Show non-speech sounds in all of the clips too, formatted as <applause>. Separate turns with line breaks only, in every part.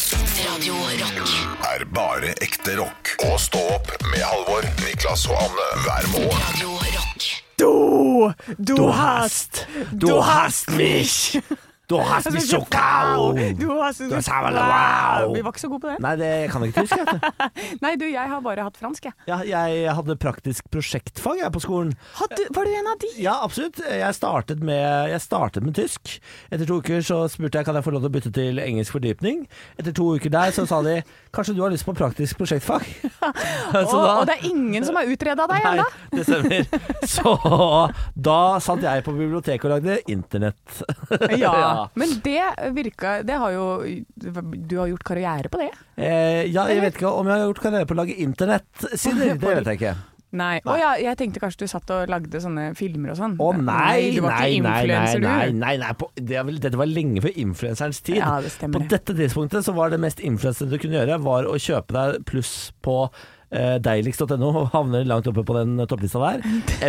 Radio Rock.
er bare ekte rock. Og stå opp med Halvor, Niklas og Anne hver morgen.
Radio Rock.
Du, du,
Du
hast,
hast-
du,
du
hast
hast
mich.
Du hast mich so kalt!
Du hast,
Du hast aber wow.
Vi var ikke så gode på det.
Nei, det kan jeg ikke huske. vet du.
<laughs> Nei, du, jeg har bare hatt fransk, jeg.
Ja, jeg hadde praktisk prosjektfag jeg, på skolen.
Hadde, var du en av de?
Ja, absolutt. Jeg startet, med, jeg startet med tysk. Etter to uker så spurte jeg kan jeg få lov til å bytte til engelsk fordypning. Etter to uker der så sa de kanskje du har lyst på praktisk prosjektfag.
Og, og det er ingen som har utreda deg
<laughs> Nei,
ennå?
det stemmer.
<laughs>
Så da satt jeg på biblioteket og lagde internett.
Ja. Men det virka Det har jo Du har gjort karriere på det?
Eh, ja, jeg vet ikke om jeg har gjort karriere på å lage
<laughs>
internettsider. Det vet jeg ikke.
Nei. Å ja, jeg tenkte kanskje du satt og lagde sånne filmer og sånn.
Å nei,
du var
nei,
ikke
nei, nei,
influencer, du.
nei, nei, nei. På, det er vel, Dette var lenge før influenserens tid.
Ja, det stemmer
på
det.
dette tidspunktet så var det mest influenser du kunne gjøre, var å kjøpe deg pluss på eh, deiligst.no og havner langt oppe på den topplista
<laughs>
der.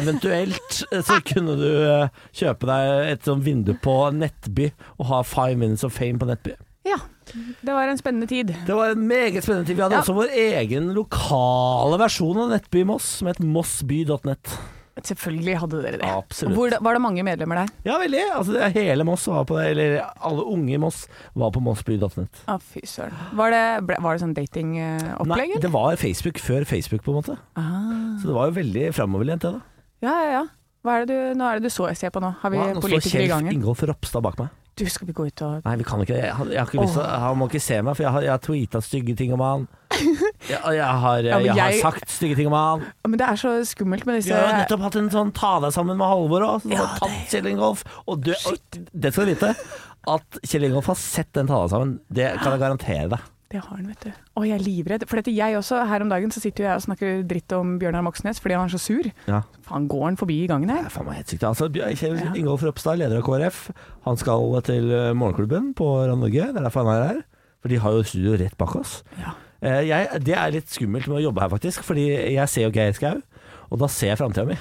Eventuelt eh, så kunne du eh, kjøpe deg et sånt vindu på Nettby og ha Five Minutes of Fame på Nettby.
Ja. Det var en spennende tid.
Det var en meget spennende tid. Vi hadde
Ja.
også vår egen lokale versjon av Nettby Moss, som het mossby.nett.
Selvfølgelig hadde dere det.
Absolutt.
Hvor, var det mange medlemmer der?
Ja, veldig. Altså, det er hele Moss var på det, eller alle unge i Moss var på mossby.net.
Å, fy søren. Var det, ble, var det sånn datingopplegg?
det var Facebook før Facebook, på en måte. Så det var jo veldig framoverlent, det da.
Ja, ja, ja. Hva er det du, nå er det du så, ser på nå? Har vi
Nå står
politikere i gangen?
Ingolf Ropstad bak meg.
Du, skal vi gå ut og
Nei, vi kan ikke det. Jeg, har- jeg har ikke lyst til, å- Han må ikke se meg, for jeg har, jeg har tweeta stygge ting om
<laughs>
han. Jeg, og jeg, har,
men
jeg har
jeg-
sagt stygge ting om han.
Å, Men det er så skummelt med disse
Vi har jo nettopp hatt en sånn ta deg sammen med Halvor òg. Sånn,
Ja,
tatt Kjell Ingolf. Og du, og, det skal du vite, at Kjell Ingolf har sett den ta deg sammen. Det kan jeg garantere deg.
Det har han, vet du. Å, jeg er livredd. For dette jeg også, her om dagen så sitter jo jeg og snakker dritt om Bjørnar Moxnes fordi han er så sur.
Ja.
Faen, går han forbi i gangen
Det
her?
er faen meg helt sykt. Altså, Bjør- Kjell Ingolf Ropstad, leder av KrF, han skal til eh, Morgenklubben på Radio Norge. Det er derfor han er her. For de har jo studio rett bak oss.
Ja.
Eh, Jeg, det er litt skummelt med å jobbe her, faktisk. Fordi jeg ser jo Geir Skau, og da ser jeg framtida mi.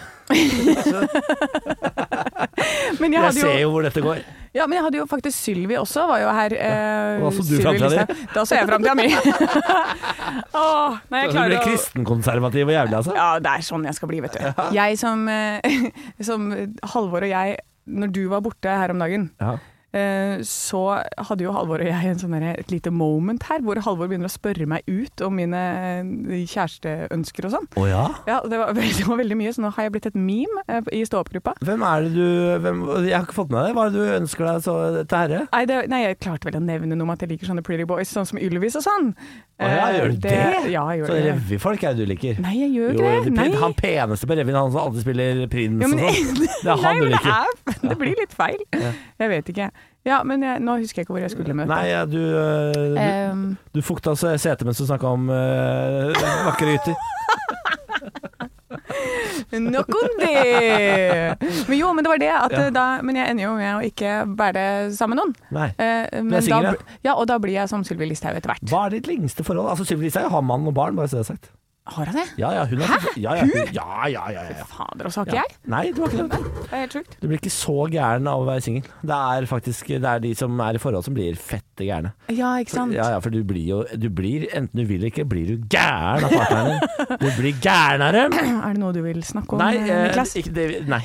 Men jeg
Jeg
hadde jo,
ser jo hvor dette går.
ja, men jeg hadde jo faktisk Sylvi også, var jo her. Eh,
og da så du
Sylvi
fremtiden din.
Listhaug. Da så jeg framtida
<laughs>
mi. <laughs> Åh, nei,
Altså,
jeg
Du
klarer
blir
å
kristenkonservativ og jævlig, altså.
Ja, det er sånn jeg skal bli, vet du. Jeg som, eh, <laughs> som Halvor og jeg, når du var borte her om dagen,
Ja.
eh, så hadde jo Halvor og jeg en sånn derre- et lite moment her, hvor Halvor begynner å spørre meg ut om mine eh, kjæresteønsker og sånn.
Å ja?
Ja, det var, <laughs> veldig, det var veldig mye, så nå har jeg blitt et meme eh, i stå-opp-gruppa.
Hvem er det du hvem, Jeg har ikke fått med deg det. Hva er det du ønsker deg så, til herre?
Nei, det, nei, jeg klarte vel å nevne noe om at jeg liker sånne pretty boys, sånn som Ylvis og sånn.
Å ja,
Eh,
gjør du det?
Ja, jeg gjør
Så
det.
revyfolk er det du liker?
Nei, jeg gjør
Jo,
ikke det.
det-
Nei.
Han peneste på revyen, han som alltid spiller prins
Ja, men-
og sånn. <laughs> Det er
Nei,
han du
men det,
liker.
er, <laughs> det blir litt feil. Jeg vet ikke. Ja, men jeg, nå husker jeg ikke hvor jeg skulle med
Nei,
dette.
ja, du, øh,
Ehm,
du, du fukta så setet mens du snakka om øh, vakre gutter.
nok om det! Men jo, men det var det at
Ja.
eh, da Men jeg ender jo med å ikke være sammen med noen.
Nei.
Eh, men
er
da,
singel, ja.
bl- ja, og da blir jeg som Sylvi Listhaug etter hvert.
Hva er ditt lengste forhold? Altså Sylvi Listhaug har mann og barn, bare så det er sagt.
Har han det?
Ja ja, hun er ja, ja, hun? Ja, ja, ja, ja, ja.
Fader, og så har ikke
ja.
jeg.
Nei, du har ikke det.
Det er helt sjukt.
Du blir ikke så gæren av å være singel. Det er faktisk det er de som er i forhold som blir fette gærne.
Ja, ikke sant.
Ja, ja, for du blir jo du blir, Enten du vil eller ikke, blir du gæren av partneren din. Du blir gæren av dem!
Er det noe du vil snakke om,
Nei,
eh,
eh,
Niklas?
ikke det, nei.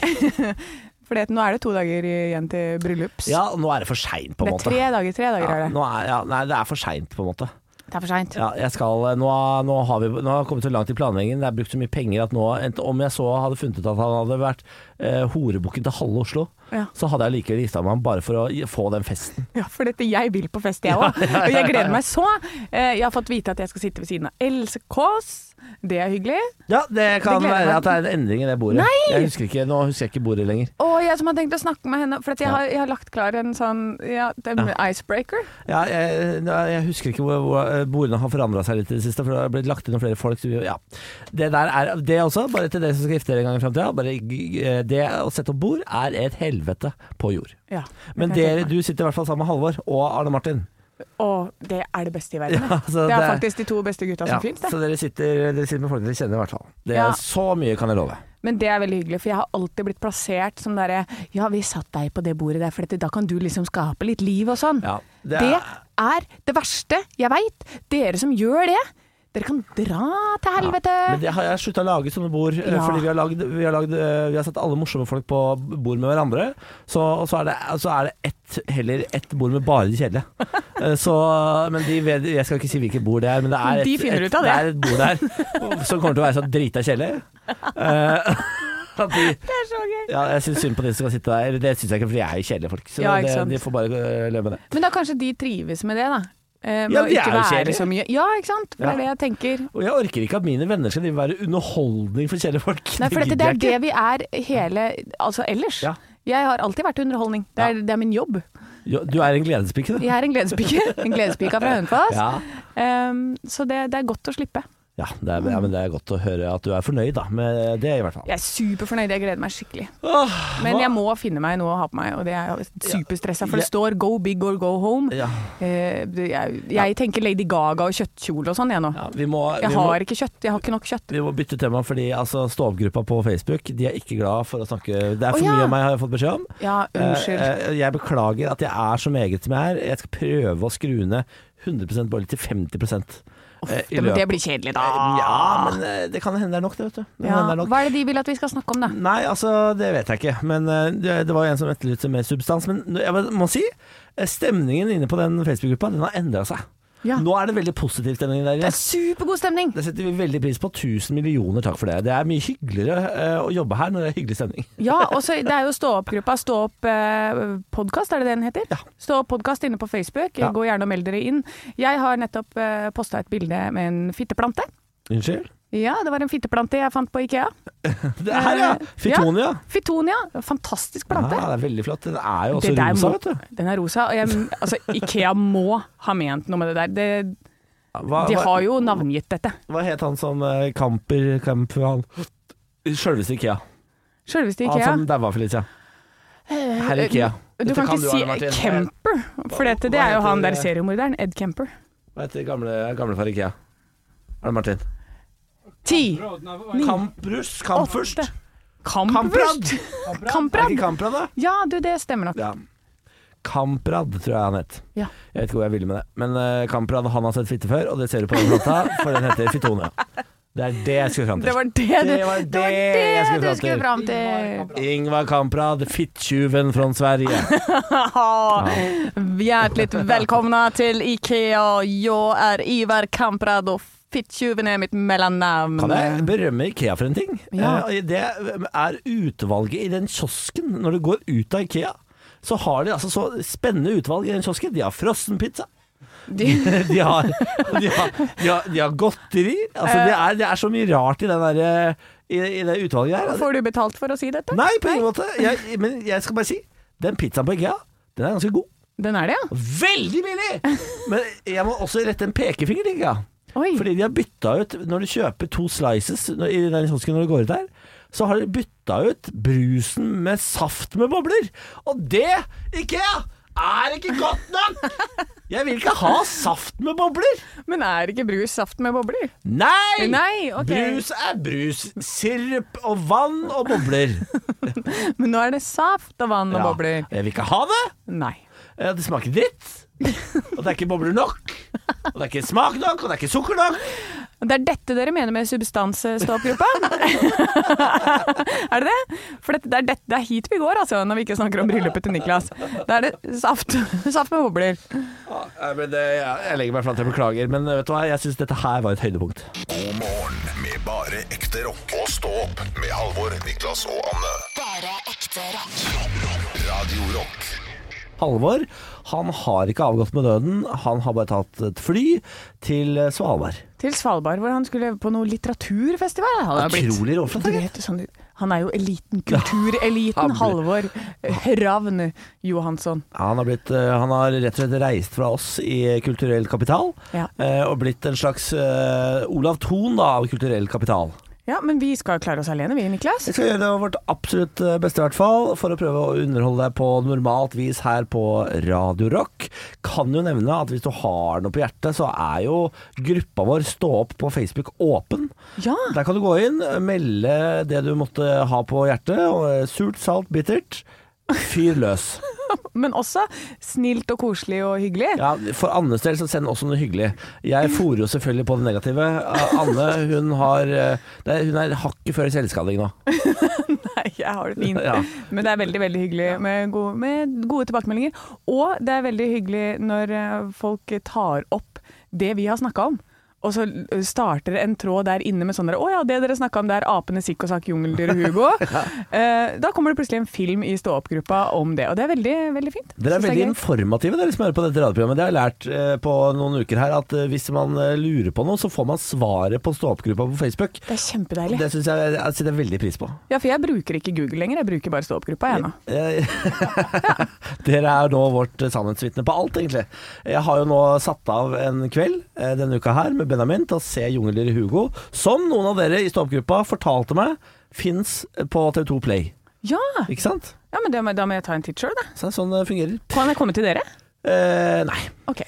For nå er det to dager igjen til bryllups.
Ja, nå er det for seint, på en
det er
måte.
tre dager, tre dager
Ja,
er det.
nå er, ja, nei, det er for seint, på en måte.
Det er for seint.
Ja, jeg skal, eh, nå, nå, har vi, nå har jeg kommet så langt i planleggingen, det er brukt så mye penger at nå ent- Om jeg så hadde funnet ut at han hadde vært eh, horebukken til halve Oslo,
Ja.
så hadde jeg likevel gifta meg med ham bare for å gi- få den festen.
Ja, for dette jeg vil på fest, jeg òg. Og jeg gleder meg så. Eh, Jeg har fått vite at jeg skal sitte ved siden av Else Kåss. Det er hyggelig.
Ja, det kan
Det gleder
være
jeg meg.
at det er en endring i det bordet.
Nei!
Jeg husker ikke, nå husker jeg ikke bordet lenger.
Og jeg som har tenkt å snakke med henne, for at jeg, har, jeg har lagt klar en sånn ja, det er en icebreaker.
Ja, jeg, jeg husker ikke hvor, hvor bordene har forandra seg litt i det siste, for det har blitt lagt inn noen flere folk. så vi- Ja. Det der er det også, bare til dere som skal gifte dere en gang i framtida. bare g- g- Det å sette opp bord er et helvete på jord.
Ja,
Men
det kan jeg
dere,
tenke
du sitter i hvert fall sammen med Halvor og Arne Martin.
meg. Og det er det beste i verden.
Ja, altså,
det
det-
er faktisk de to beste gutta
Ja,
som fins, det.
så dere sitter, dere sitter med folk dere kjenner, i hvert fall. Det er
Ja.
Så mye kan jeg love.
Men det er veldig hyggelig, for jeg har alltid blitt plassert som derre Ja, vi satt deg på det bordet der, for dette, da kan du liksom skape litt liv og sånn.
Ja,
det,
det
er...
er-
er det verste jeg veit. Dere som gjør det, dere kan dra til helvete.
Men det har jeg slutta å lage sånne bord, eh,
Ja.
fordi vi har, lagd, vi, har lagd, eh, vi har satt alle morsomme folk på bord med hverandre. Så, og så er det, så er det ett, heller ett bord med bare de
<laughs>
kjedelige. Eh, Så, men de vet, jeg skal ikke si hvilket bord det er, men det er,
De
et, et,
finner ut av det.
er et bord der <laughs> som kommer til å være så drita kjedelig. Eh, <laughs> at de,
Det er så gøy.
ja, jeg syns synd på de som skal sitte der. Eller Det syns jeg ikke, for de er jo kjedelige folk. Så
Ja, ikke
det,
sant.
de får bare eh, leve med det.
Men da kanskje de trives med det, da. Eh, med
Ja,
å
de er
ikke
jo
være
kjedelige.
så mye. Ja, ikke sant. For Det
Ja.
er det jeg tenker.
Og jeg orker ikke at mine venner skal drive og være underholdning for kjedelige folk. <laughs>
Nei, for dette,
gidder
det
jeg
er
ikke.
det vi er hele Altså ellers.
Ja.
Jeg har alltid vært underholdning. Det er, det er min jobb.
Jo, Du er en gledespike, du.
Jeg er en gledespike.
<laughs>
En gledespike fra Hønefoss.
Ja.
Ehm, så det, det er godt å slippe.
Ja, det er, ja, men det er godt å høre at du er fornøyd da, med det i hvert fall.
Jeg er superfornøyd. Jeg gleder meg skikkelig.
Åh,
Men
hva-
jeg må finne meg noe å ha på meg, og det er superstressa. For det
Ja.
står 'go big or go home'.
ja,
Eh, det- jeg, jeg tenker Lady Gaga og kjøttkjole og sånn, jeg nå.
ja, vi, må,
Jeg
vi, må,
har ikke kjøtt. Jeg har ikke nok kjøtt.
vi må bytte tema, fordi altså, stå-opp-gruppa på Facebook De er ikke glad for å snakke Det er for
Å, ja.
mye av meg, har jeg fått beskjed om.
Ja, unnskyld.
Eh, eh, jeg beklager at jeg er så meget som jeg er. Jeg skal prøve å skru ned 100 bare til 50 eh, i
Det, men det
løpet-
blir kjedelig,
Eh, Ja,
da.
men eh, det kan hende det er nok, det, vet du. Det kan
Ja.
hende det er nok.
Hva er det de vil at vi skal snakke om, da?
Nei, altså, det vet jeg ikke. Men eh, det, det var jo en som etterlyste mer substans. Men jeg må si, eh, stemningen inne på den Facebook-gruppa, den har endra seg.
Ja.
Nå er det veldig positiv stemning der
Det
inne.
er supergod stemning!
Det setter vi veldig pris på. Tusen millioner takk for det. Det er mye hyggeligere eh, å jobbe her når det er hyggelig stemning.
Ja, og så det er jo Stå opp-gruppa. Stå opp eh, podkast, er det det den heter?
Ja.
Stå opp podkast inne på Facebook.
Ja.
Gå gjerne og meld dere inn. Jeg har nettopp eh, posta et bilde med en fitteplante.
Unnskyld?
Ja, det var en fitteplante jeg fant på Ikea.
Det er her, ja! Fitonia.
Fitonia. Fantastisk
Ja,
plante.
det er veldig flott. Den er jo også
Det der
rosa,
må-
vet du.
Den er rosa. Og jeg, altså, Ikea må ha ment noe med det der. Det,
Ah, Hva,
de
hva,
har jo navngitt dette.
hva het han som eh, Kamper Kamper han Sjølveste Ikea.
Sjølveste
Han
Ikea. Eh,
som daua, Felicia. Herr Ah, sånn Ikea.
Du
Dette
kan
kan
ikke
du, Arne Martin.
si Kemper, for dette, det
Hva
er jo
heter
han der
det?
seriemorderen. Ed Kemper.
Hva heter gamle, gamlefar Ikea? Er det Martin?
Ti,
Kamprus? Kampfurst?
åtte Kamprad!
Er det
Kamprad!
ikke Kamprad, da?
Ja, du, det stemmer nok.
Ja. Kamprad, tror jeg han het.
Ja.
Jeg vet ikke hvor jeg ville med det. Men eh, Kamprad, han har sett fitte før, og det ser du på den plata, for den heter Fitone. Det er det jeg skulle fram
Det
til.
var det, du,
Det var det
var det
jeg skulle
du
fram
skulle
til.
fram til.
Ingvar Kamprad, fittjuven fra
<laughs>
Sverige.
Hjertelig velkomna til Ikea. Jeg er Ivar Kamprad, og Fittjuven er mitt mellomnavn.
Kan
<laughs>
jeg berømme Ikea for en ting?
eh, Ja.
Eh, Det er utvalget i den kiosken når du går ut av Ikea. Så har de altså så spennende utvalg i den kiosken. De har frossenpizza.
De-
<laughs> De har, de har, de har, de har godteri. Altså, det,
Eh.
er, det er så mye rart i, den der, i, i det utvalget der.
Får du betalt for å si dette?
Nei, på ingen måte. Jeg, men jeg skal bare si, den pizzaen på IKEA, den er ganske god.
Den er det, ja?
Veldig
<laughs>
billig! Men jeg må også rette en pekefinger til IKEA.
Oi.
Fordi de har bytta ut Når du kjøper to slices når- i den kiosken når du går ut der, så har de bytta ut brusen med saft med bobler. Og det, IKEA, er ikke godt
<laughs>
nok! Jeg vil ikke ha saft med bobler!
Men er ikke brus saft med bobler?
Nei!
Nei, ok.
Brus er brus. Sirup og vann og bobler.
Men nå er det saft av <laughs> vann og
Ja.
bobler.
Jeg vil ikke ha det.
Nei.
Eh, Det smaker dritt. Og det er ikke bobler nok. Og det er ikke smak nok, og det er ikke sukker nok.
Og Det er dette dere mener med substansståpgruppa? er det det? For det, det, er dette, det er hit vi går, altså, når vi ikke snakker om bryllupet til Niklas. Da er det saft, saft med bobler.
Ja, nei, men det, ja, jeg legger meg flat, jeg beklager. Men eh, vet du hva, jeg syns dette her var et høydepunkt.
God morgen med bare ekte rock. Og stå opp med Halvor, Niklas og Anne.
Bare ekte rock.
Radio Rock.
Halvor han har ikke avgått med døden. Han har bare tatt et fly til eh, Svalbard.
Til Svalbard, hvor han skulle på noe litteraturfestival. Han, har blitt.
Utrolig råflott.
Du
ikke?
vet, sånn, han er jo eliten, kultureliten. Halvor Ravn Johansson.
Han har, blitt, eh, han har rett og slett reist fra oss i kulturell kapital,
Ja.
eh, og blitt en slags eh, Olav Thon da, av kulturell kapital.
Ja, men vi skal klare oss alene, vi, Niklas.
Vi skal gjøre det vårt absolutt eh, beste i hvert fall, for å prøve å underholde deg på normalt vis her på Radio Rock. Kan jo nevne at hvis du har noe på hjertet, så er jo gruppa vår Stå opp på Facebook åpen.
Ja.
Der kan du gå inn, melde det du måtte ha på hjertet. og, eh, Surt, salt, bittert. Fyr løs.
liksom. Men også snilt og koselig og hyggelig.
Ja, For Annes del så send også noe hyggelig. Jeg fòrer jo selvfølgelig på det negative. Anne hun har eh, det er, Hun er hakket før i selvskading nå.
<laughs> Nei, jeg har det fint.
Ja.
Men det er veldig veldig hyggelig med gode, med gode tilbakemeldinger. Og det er veldig hyggelig når eh, folk tar opp det vi har snakka om. Og så eh, starter en tråd der inne med sånn der, Å ja, det dere snakka om der, apene Sikk og Sakk, jungeldyret Hugo. <laughs> Eh, da kommer det plutselig en film i stå-opp-gruppa om det. Og det er veldig, veldig fint.
Dere er
Synes jeg
veldig
gøy.
informative, dere som hører på dette radioprogrammet. Det har jeg lært eh, på noen uker her, at eh, hvis man eh, lurer på noe, så får man svaret på stå-opp-gruppa på Facebook.
Det er kjempedeilig.
Det syns jeg jeg setter veldig pris på.
Ja, for jeg bruker ikke Google lenger, jeg bruker bare stå-opp-gruppa jeg nå.
Eh, <laughs> Dere er nå vårt eh, sannhetsvitne på alt, egentlig. Jeg har jo nå satt av en kveld eh, denne uka her med Benjamin til å se Jungeldyret Hugo, som noen av dere i stå-opp-gruppa fortalte meg fins på TV2 Play.
Ja,
Ikke sant?
ja men da må, da må jeg ta en titt sjøl, da.
Så det er sånn det fungerer.
Kan jeg komme til dere?
Eh, nei.
Ok.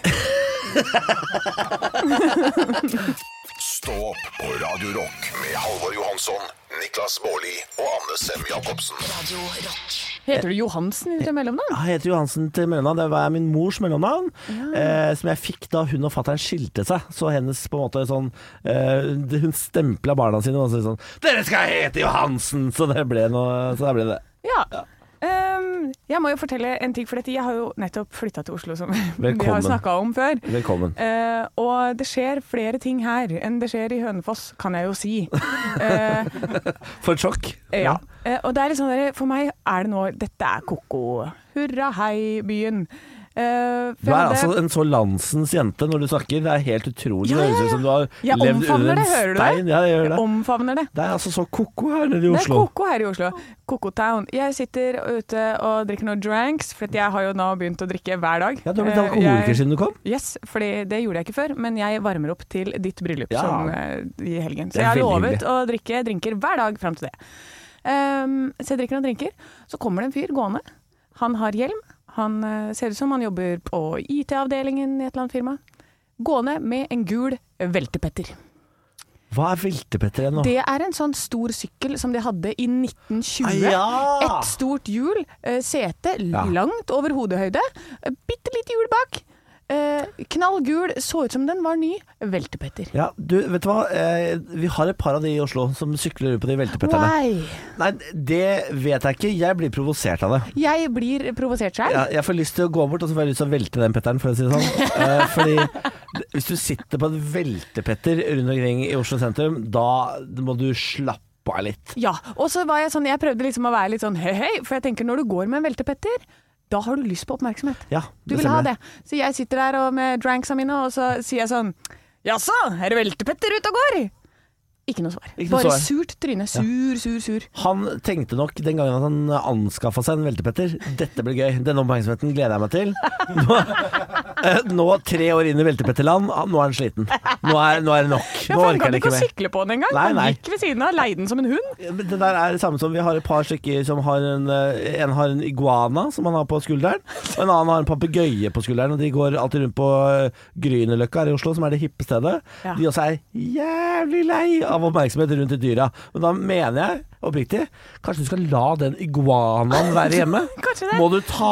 Stå opp på Radio Rock med Halvor Johansson, Niklas Baarli og Anne Sem Jacobsen.
Radio Rock.
Heter du Johansen i ditt mellomnavn?
Jeg heter Johansen til mellomnavn. Det er min mors mellomnavn. Eh, som jeg fikk da hun og fattern skilte seg. Så hennes på en måte sånn eh, det- Hun stempla barna sine og så sånn 'Dere skal hete Johansen!' Så det ble, noe, så det, ble det.
Ja. Ehm, jeg må jo fortelle en ting, for dette. jeg har jo nettopp flytta til Oslo, som <laughs> vi
Velkommen.
har snakka om før.
Velkommen.
Eh, og det skjer flere ting her enn det skjer i Hønefoss, kan jeg
<laughs>
jo si. Eh,
For et sjokk.
Ja. Eh, og det er litt sånn der, for meg er det nå Dette er ko-ko. Hurra hei-byen. Eh, for
Du
jeg
er
hadde-
altså en så landsens jente når du snakker. Det er helt utrolig.
Ja, ja,
Det høres ut som du har
Jeg
levd
omfavner
under en
det, hører du det?
stein. Ja, jeg gjør
Jeg
det.
omfavner det.
Det er altså så ko-ko her nede i
Det er
Oslo.
koko her i Oslo. Koko Town. Jeg sitter ute og drikker noen dranks, for at jeg har jo nå begynt å drikke hver dag.
Ja, du har blitt
Eh,
alkoholiker
jeg-
siden du kom.
Yes, for det gjorde jeg ikke før, men jeg varmer opp til ditt bryllup
Ja.
som, eh, i helgen.
Det er
Så jeg har
veldig
lovet
hyggelig.
å drikke drinker hver dag fram til det. Ehm, så jeg drikker noen drinker. Så kommer det en fyr gående. Han har hjelm. Han eh, ser ut som han jobber på IT-avdelingen i et eller annet firma. Gående med en gul veltepetter.
Hva er veltepetter igjen nå?
Det er en sånn stor sykkel som de hadde i 1920.
Ah, ja!
Et stort hjul, eh, sete
Ja.
langt over hodehøyde, eh, bitte lite hjul bak. Eh, knallgul, så ut som den var ny. Veltepetter.
Ja, du, vet du hva? Eh, vi har et par av de i Oslo som sykler rundt på de veltepetterne.
Why?
Nei, det vet jeg ikke. Jeg blir provosert av det.
Jeg blir provosert sjøl.
Jeg, jeg får lyst til å gå bort og så får jeg lyst til å velte den petteren, for å si det sånn.
<laughs>
Eh, fordi d- hvis du sitter på en veltepetter rundt omkring i Oslo sentrum, da må du slappe av litt.
Ja. Og så var jeg sånn, jeg prøvde liksom å være litt sånn høy, høy, for jeg tenker når du går med en veltepetter, da har du lyst på oppmerksomhet.
Ja,
Du vil ha
stemmer.
det. Så jeg sitter der og med dranksa mine, og så sier jeg sånn Jaså, er det veltepetter ute og går? Ikke noe svar.
Ikke noe
Bare
svar.
surt tryne. Sur, sur, sur.
Han tenkte nok den gangen at han anskaffa seg en veltepetter. Dette blir gøy. Denne oppmerksomheten gleder jeg meg til. Nå, eh, nå tre år inn i veltepetterland, ah, nå er han sliten. Nå er, nå er det nok. Nå
Ja, for han
orker
gadd
han
ikke
ikke
å
mer.
sykle på den engang.
Nei,
Han
nei.
gikk ved siden av, leide den som en hund.
Ja, men Det der er det samme som Vi har et par stykker som har en, eh, en har en iguana som han har på skulderen, og en annen har en papegøye på skulderen. Og De går alltid rundt på eh, Grünerløkka her i Oslo, som er det hippe stedet.
Ja.
De også er jævlig lei av oppmerksomhet rundt de dyra. Men da mener jeg oppriktig, kanskje du skal la den iguanaen være hjemme?
Kanskje det.
Må du ta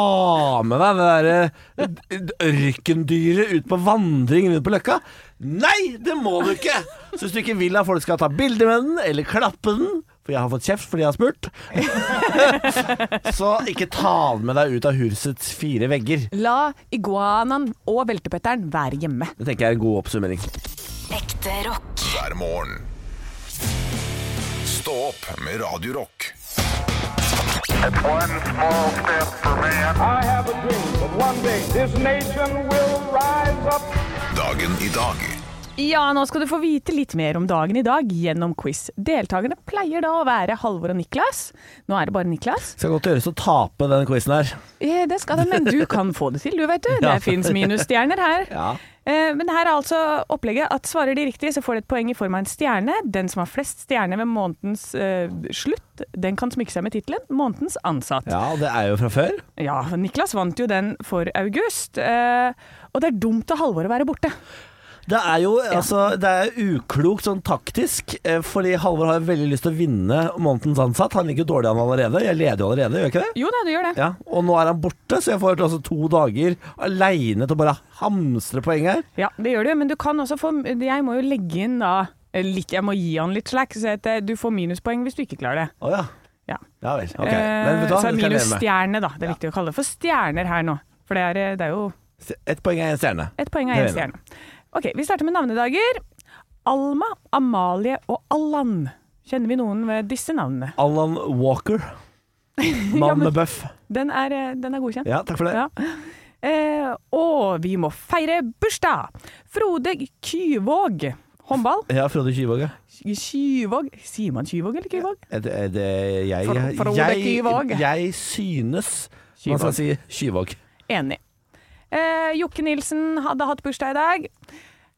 med deg det derre d- d- ørkendyret ut på vandring rundt på løkka? Nei, det må du ikke! Så hvis du ikke vil at folk skal ta bilde med den, eller klappe den For jeg har fått kjeft fordi jeg har spurt. <laughs> Så ikke ta den med deg ut av husets fire vegger.
La iguanaen og veltepetteren være hjemme.
Det tenker jeg er en god oppsummering.
Ekte rock.
hver morgen. Stå opp med Radio Rock.
One small step for man.
I have a dream that one day this nation will rise up.
Dagen i dag.
Ja, nå skal du få vite litt mer om dagen i dag gjennom quiz. Deltakerne pleier da å være Halvor og Niklas. Nå er det bare Niklas.
Skal godt gjøres å tape denne quizen her.
Eh, Det skal det, men du kan få det til, du
<laughs>
vet du. Det
Ja.
fins minusstjerner her.
Ja.
Eh, Men her er altså opplegget at svarer de riktig, så får de et poeng i form av en stjerne. Den som har flest stjerner ved månedens eh, slutt, den kan smykke seg med tittelen 'Månedens ansatt'. Ja.
Ja, det er jo fra før.
Niklas vant jo den for august. eh, Og det er dumt av Halvor å være borte.
Det er jo altså, det er uklokt sånn taktisk, eh, fordi Halvor har veldig lyst til å vinne månedens ansatt. Han ligger jo dårlig an allerede. Jeg leder jo allerede, gjør jeg ikke det?
Jo da, du gjør det.
Ja, Og nå er han borte, så jeg får altså to dager aleine til å bare hamstre poeng her.
Ja, det gjør du, men du kan også få Jeg må jo legge inn da eh, litt, Jeg må gi han litt slack, så at eh, du får minuspoeng hvis du ikke klarer det.
Å ja.
Ja.
Ja vel. Ok.
Eh,
Men vet du hva, det
så
skal jeg
er
leve med.
minusstjerne, da. Det er viktig å kalle det for stjerner her nå. For det er, eh, det er jo
Ett poeng er én stjerne.
Et poeng
Det er
er én
vi enig
stjerne. Ok, Vi starter med navnedager. Alma, Amalie og Allan. Kjenner vi noen ved disse navnene?
Alan Walker.
<laughs>
Mann med bøff.
Den er, eh, den er godkjent.
Ja, takk for det.
Ja. Eh, og vi må feire bursdag! Frode Kyvåg. Håndball.
Ja, Frode Kyvåg, ja.
Kyvåg. Sier man Kyvåg eller Kyvåg?
Er Eh, Det, er det, jeg,
For- for Frode Kyvåg.
jeg, jeg synes man skal si Kyvåg.
Enig. Eh, Jokke Nilsen hadde hatt bursdag i dag.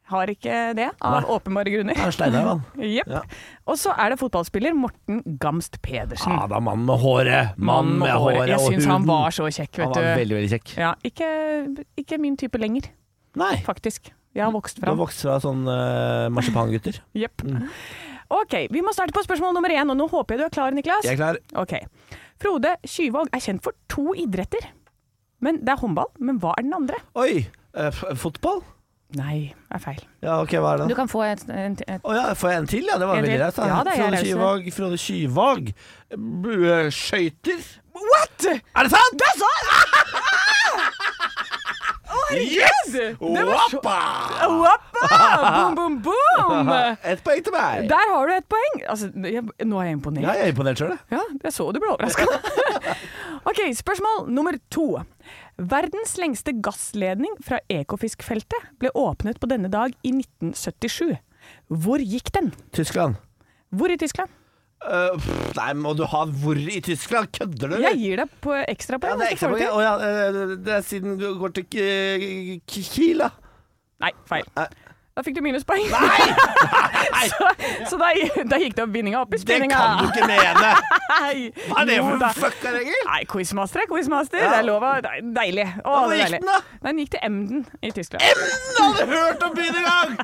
Har ikke det, av
Nei.
åpenbare grunner.
Han er Steinar, han.
Jepp.
Ja.
Og så er det fotballspiller Morten Gamst Pedersen.
Ja da, mann med håret. Ah, Mann med håret
Jeg
og
syns han
huden.
var så kjekk,
Han
vet
var
du.
veldig, veldig kjekk.
Ja, ikke, ikke min type lenger,
Nei.
faktisk. Jeg har vokst
Du har
fram.
vokst fra sånn uh,
<laughs>
marsipangutter.
Jepp.
Mm.
Ok, vi må starte på spørsmål nummer én, og nå håper jeg du er klar, Niklas.
Jeg er klar.
Ok. Frode Kyvåg er kjent for to idretter. Men Det er håndball, men hva er den andre?
Oi! eh, f- fotball?
Nei, er feil.
Ja, OK, hva er
Du
det?
kan få et, et, et
Å ja, får jeg en til? Ja, det var
En
veldig
til.
raust. da.
Ja, det er jeg
Frode
raus.
Kyvåg, Frode Kyvåg. B- Skøyter?
What?!
Er det sant?! Det er <laughs>
Yes! Det var så Wappa! Boom,
<laughs>
boom, boom!
Ett poeng til meg.
eh, Der har du et poeng. Altså, jeg, nå er jeg imponert.
Ja, jeg er imponert sjøl, jeg.
Ja, jeg så du ble overraska. <laughs> ok, spørsmål nummer to. Verdens lengste gassledning fra Ekofiskfeltet ble åpnet på denne dag i 1977. Hvor gikk den?
Tyskland.
Hvor i Tyskland?
Eh, pff, nei, må du ha hvor i Tyskland? Kødder du?
Jeg gir deg på
ja,
ekstrapoeng.
det er
hvis du
ekstra
får
poeng.
det til.
Å ja, eh, det er siden du går til K- K- Kiel, da.
Nei, feil.
Nei.
Da fikk du minuspoeng.
Nei,
så <laughs> så da, da gikk det opp vinninga opp i
det
spinninga.
kan du ikke mene!
<laughs> Nei,
Hva er det
jo
for
da.
en fucka regel?
Nei, quizmaster er quizmaster.
Ja.
Det er lov. å- det er Deilig. Å,
Hvor
det er
gikk
deilig.
den, da?
Nei, Den gikk til Emden i Tyskland.
Emden hadde hørt om byen engang!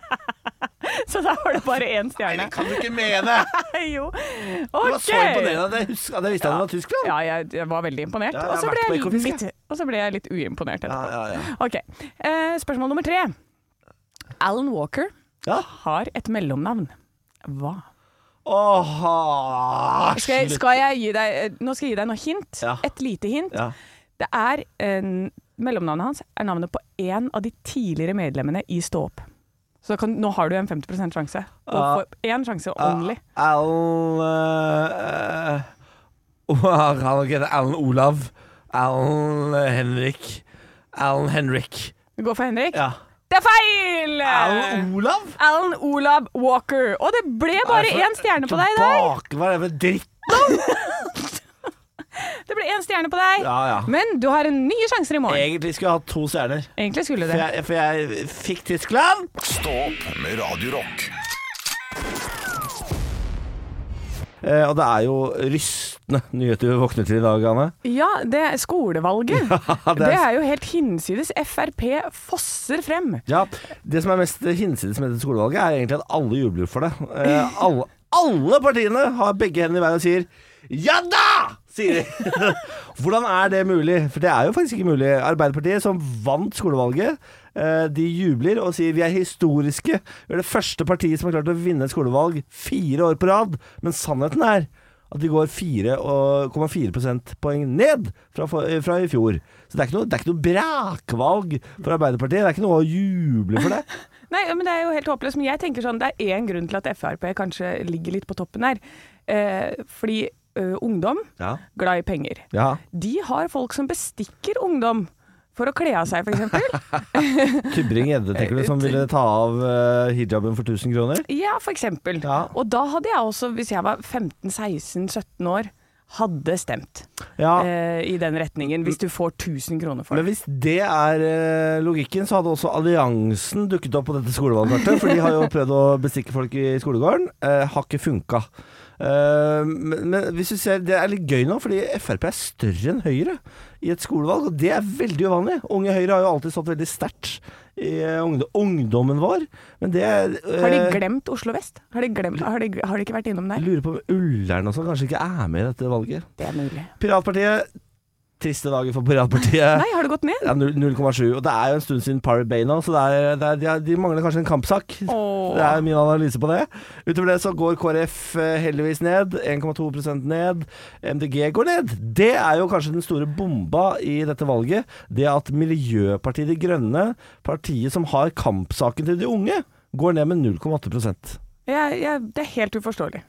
<laughs> Så da var det bare én stjerne.
Det kan du ikke mene!
<laughs> jo.
Du
OK.
var så imponerende at jeg, husker, at jeg visste at det var Tyskland.
Ja, jeg, jeg var veldig imponert.
Ja, jeg har
Og så
vært
ble,
på
jeg
Ekofisk,
litt- og så ble jeg litt uimponert etterpå.
Ja, ja, ja.
Ok, eh, Spørsmål nummer tre. Alan Walker
ja.
har et mellomnavn. Hva?
Åh,
Skal jeg,
slutt.
skal jeg gi deg, eh, nå skal jeg gi deg noe hint.
Ja.
Et lite hint.
Ja.
Det er en, Mellomnavnet hans er navnet på én av de tidligere medlemmene i Stå opp. Så da kan, nå har du en 50 sjanse. Og for én sjanse only.
Alan eh, <laughs> eh, han har ikke det. Alan Olav. Alan Henrik. Alan Henrik.
Vi går for Henrik.
Ja.
Det er feil! Eh.
Alan Olav?
Alan Olav Walker. Og det ble bare én stjerne på deg i dag!
Tilbake, Hva er det for dritt?
Det ble én stjerne på deg.
Ja, ja.
Men du har en nye sjanser i morgen.
Egentlig skulle jeg hatt to stjerner.
Egentlig skulle
For
det.
jeg, for jeg fikk Tyskland.
Stå opp med Radio Rock.
Eh, og det er jo rystende nyheter vi våkner til i dag, Anne.
Ja, det er skolevalget.
<laughs> det er-
det, er... jo helt hinsides. Frp fosser frem.
Ja, Det som er mest hinsides med dette skolevalget, er egentlig at alle jubler for det. Eh, alle, alle partiene har begge hendene i været og sier 'ja da!' sier de. <laughs> Hvordan er det mulig? For det er jo faktisk ikke mulig. Arbeiderpartiet, som vant skolevalget, eh, de jubler og sier 'vi er historiske'. Vi er det første partiet som har klart å vinne et skolevalg fire år på rad. Men sannheten er at de går 4,4 prosentpoeng ned fra, for- eh, fra i fjor. Så det er, ikke noe, det er ikke noe brakvalg for Arbeiderpartiet. Det er ikke noe å juble for det.
Nei, men Det er jo helt håpløst. Men jeg tenker sånn, det er én grunn til at Frp kanskje ligger litt på toppen her. Eh, fordi eh, ungdom,
<laughs> Ja.
glad i penger.
Ja.
De har folk som bestikker ungdom for å kle av seg, f.eks.
Tybring-Gjedde, tenker du, som ville ta av eh, hijaben for 1000 kroner?
Ja, for eksempel.
Ja.
Og da hadde jeg også, hvis jeg var 15-16-17 år, hadde stemt
Ja.
eh, i den retningen, hvis du får 1000 kroner for
Men
det.
hvis det er eh, logikken, så hadde også alliansen dukket opp på dette skolevalget. Bjarte, For de har jo prøvd å bestikke folk i skolegården. Eh, har ikke funka. Eh, men, men hvis du ser, det er litt gøy nå, fordi Frp er større enn Høyre i et skolevalg, og det er veldig uvanlig. Unge Høyre har jo alltid stått veldig sterkt i eh, ungdom, ungdommen vår, men det er eh,
Har de glemt Oslo vest? Har de, glemt, har de, har de ikke vært innom der?
Lurer på om Ullern og sånn kanskje ikke er med i dette valget.
Det er mulig.
Piratpartiet. Triste dager for Piratpartiet.
Nei, har det gått ned?
Ja, 0,7. Og det er jo en stund siden Pirate Bay nå, så det er, det er, de, har- de mangler kanskje en kampsak. <laughs>
Åh.
Det er min analyse på det. Utover det så går KrF eh, heldigvis ned. 1,2 ned. MDG går ned. Det er jo kanskje den store bomba i dette valget. Det at Miljøpartiet De Grønne, partiet som har kampsaken til de unge, går ned med 0,8
Jeg, jeg, det er helt uforståelig.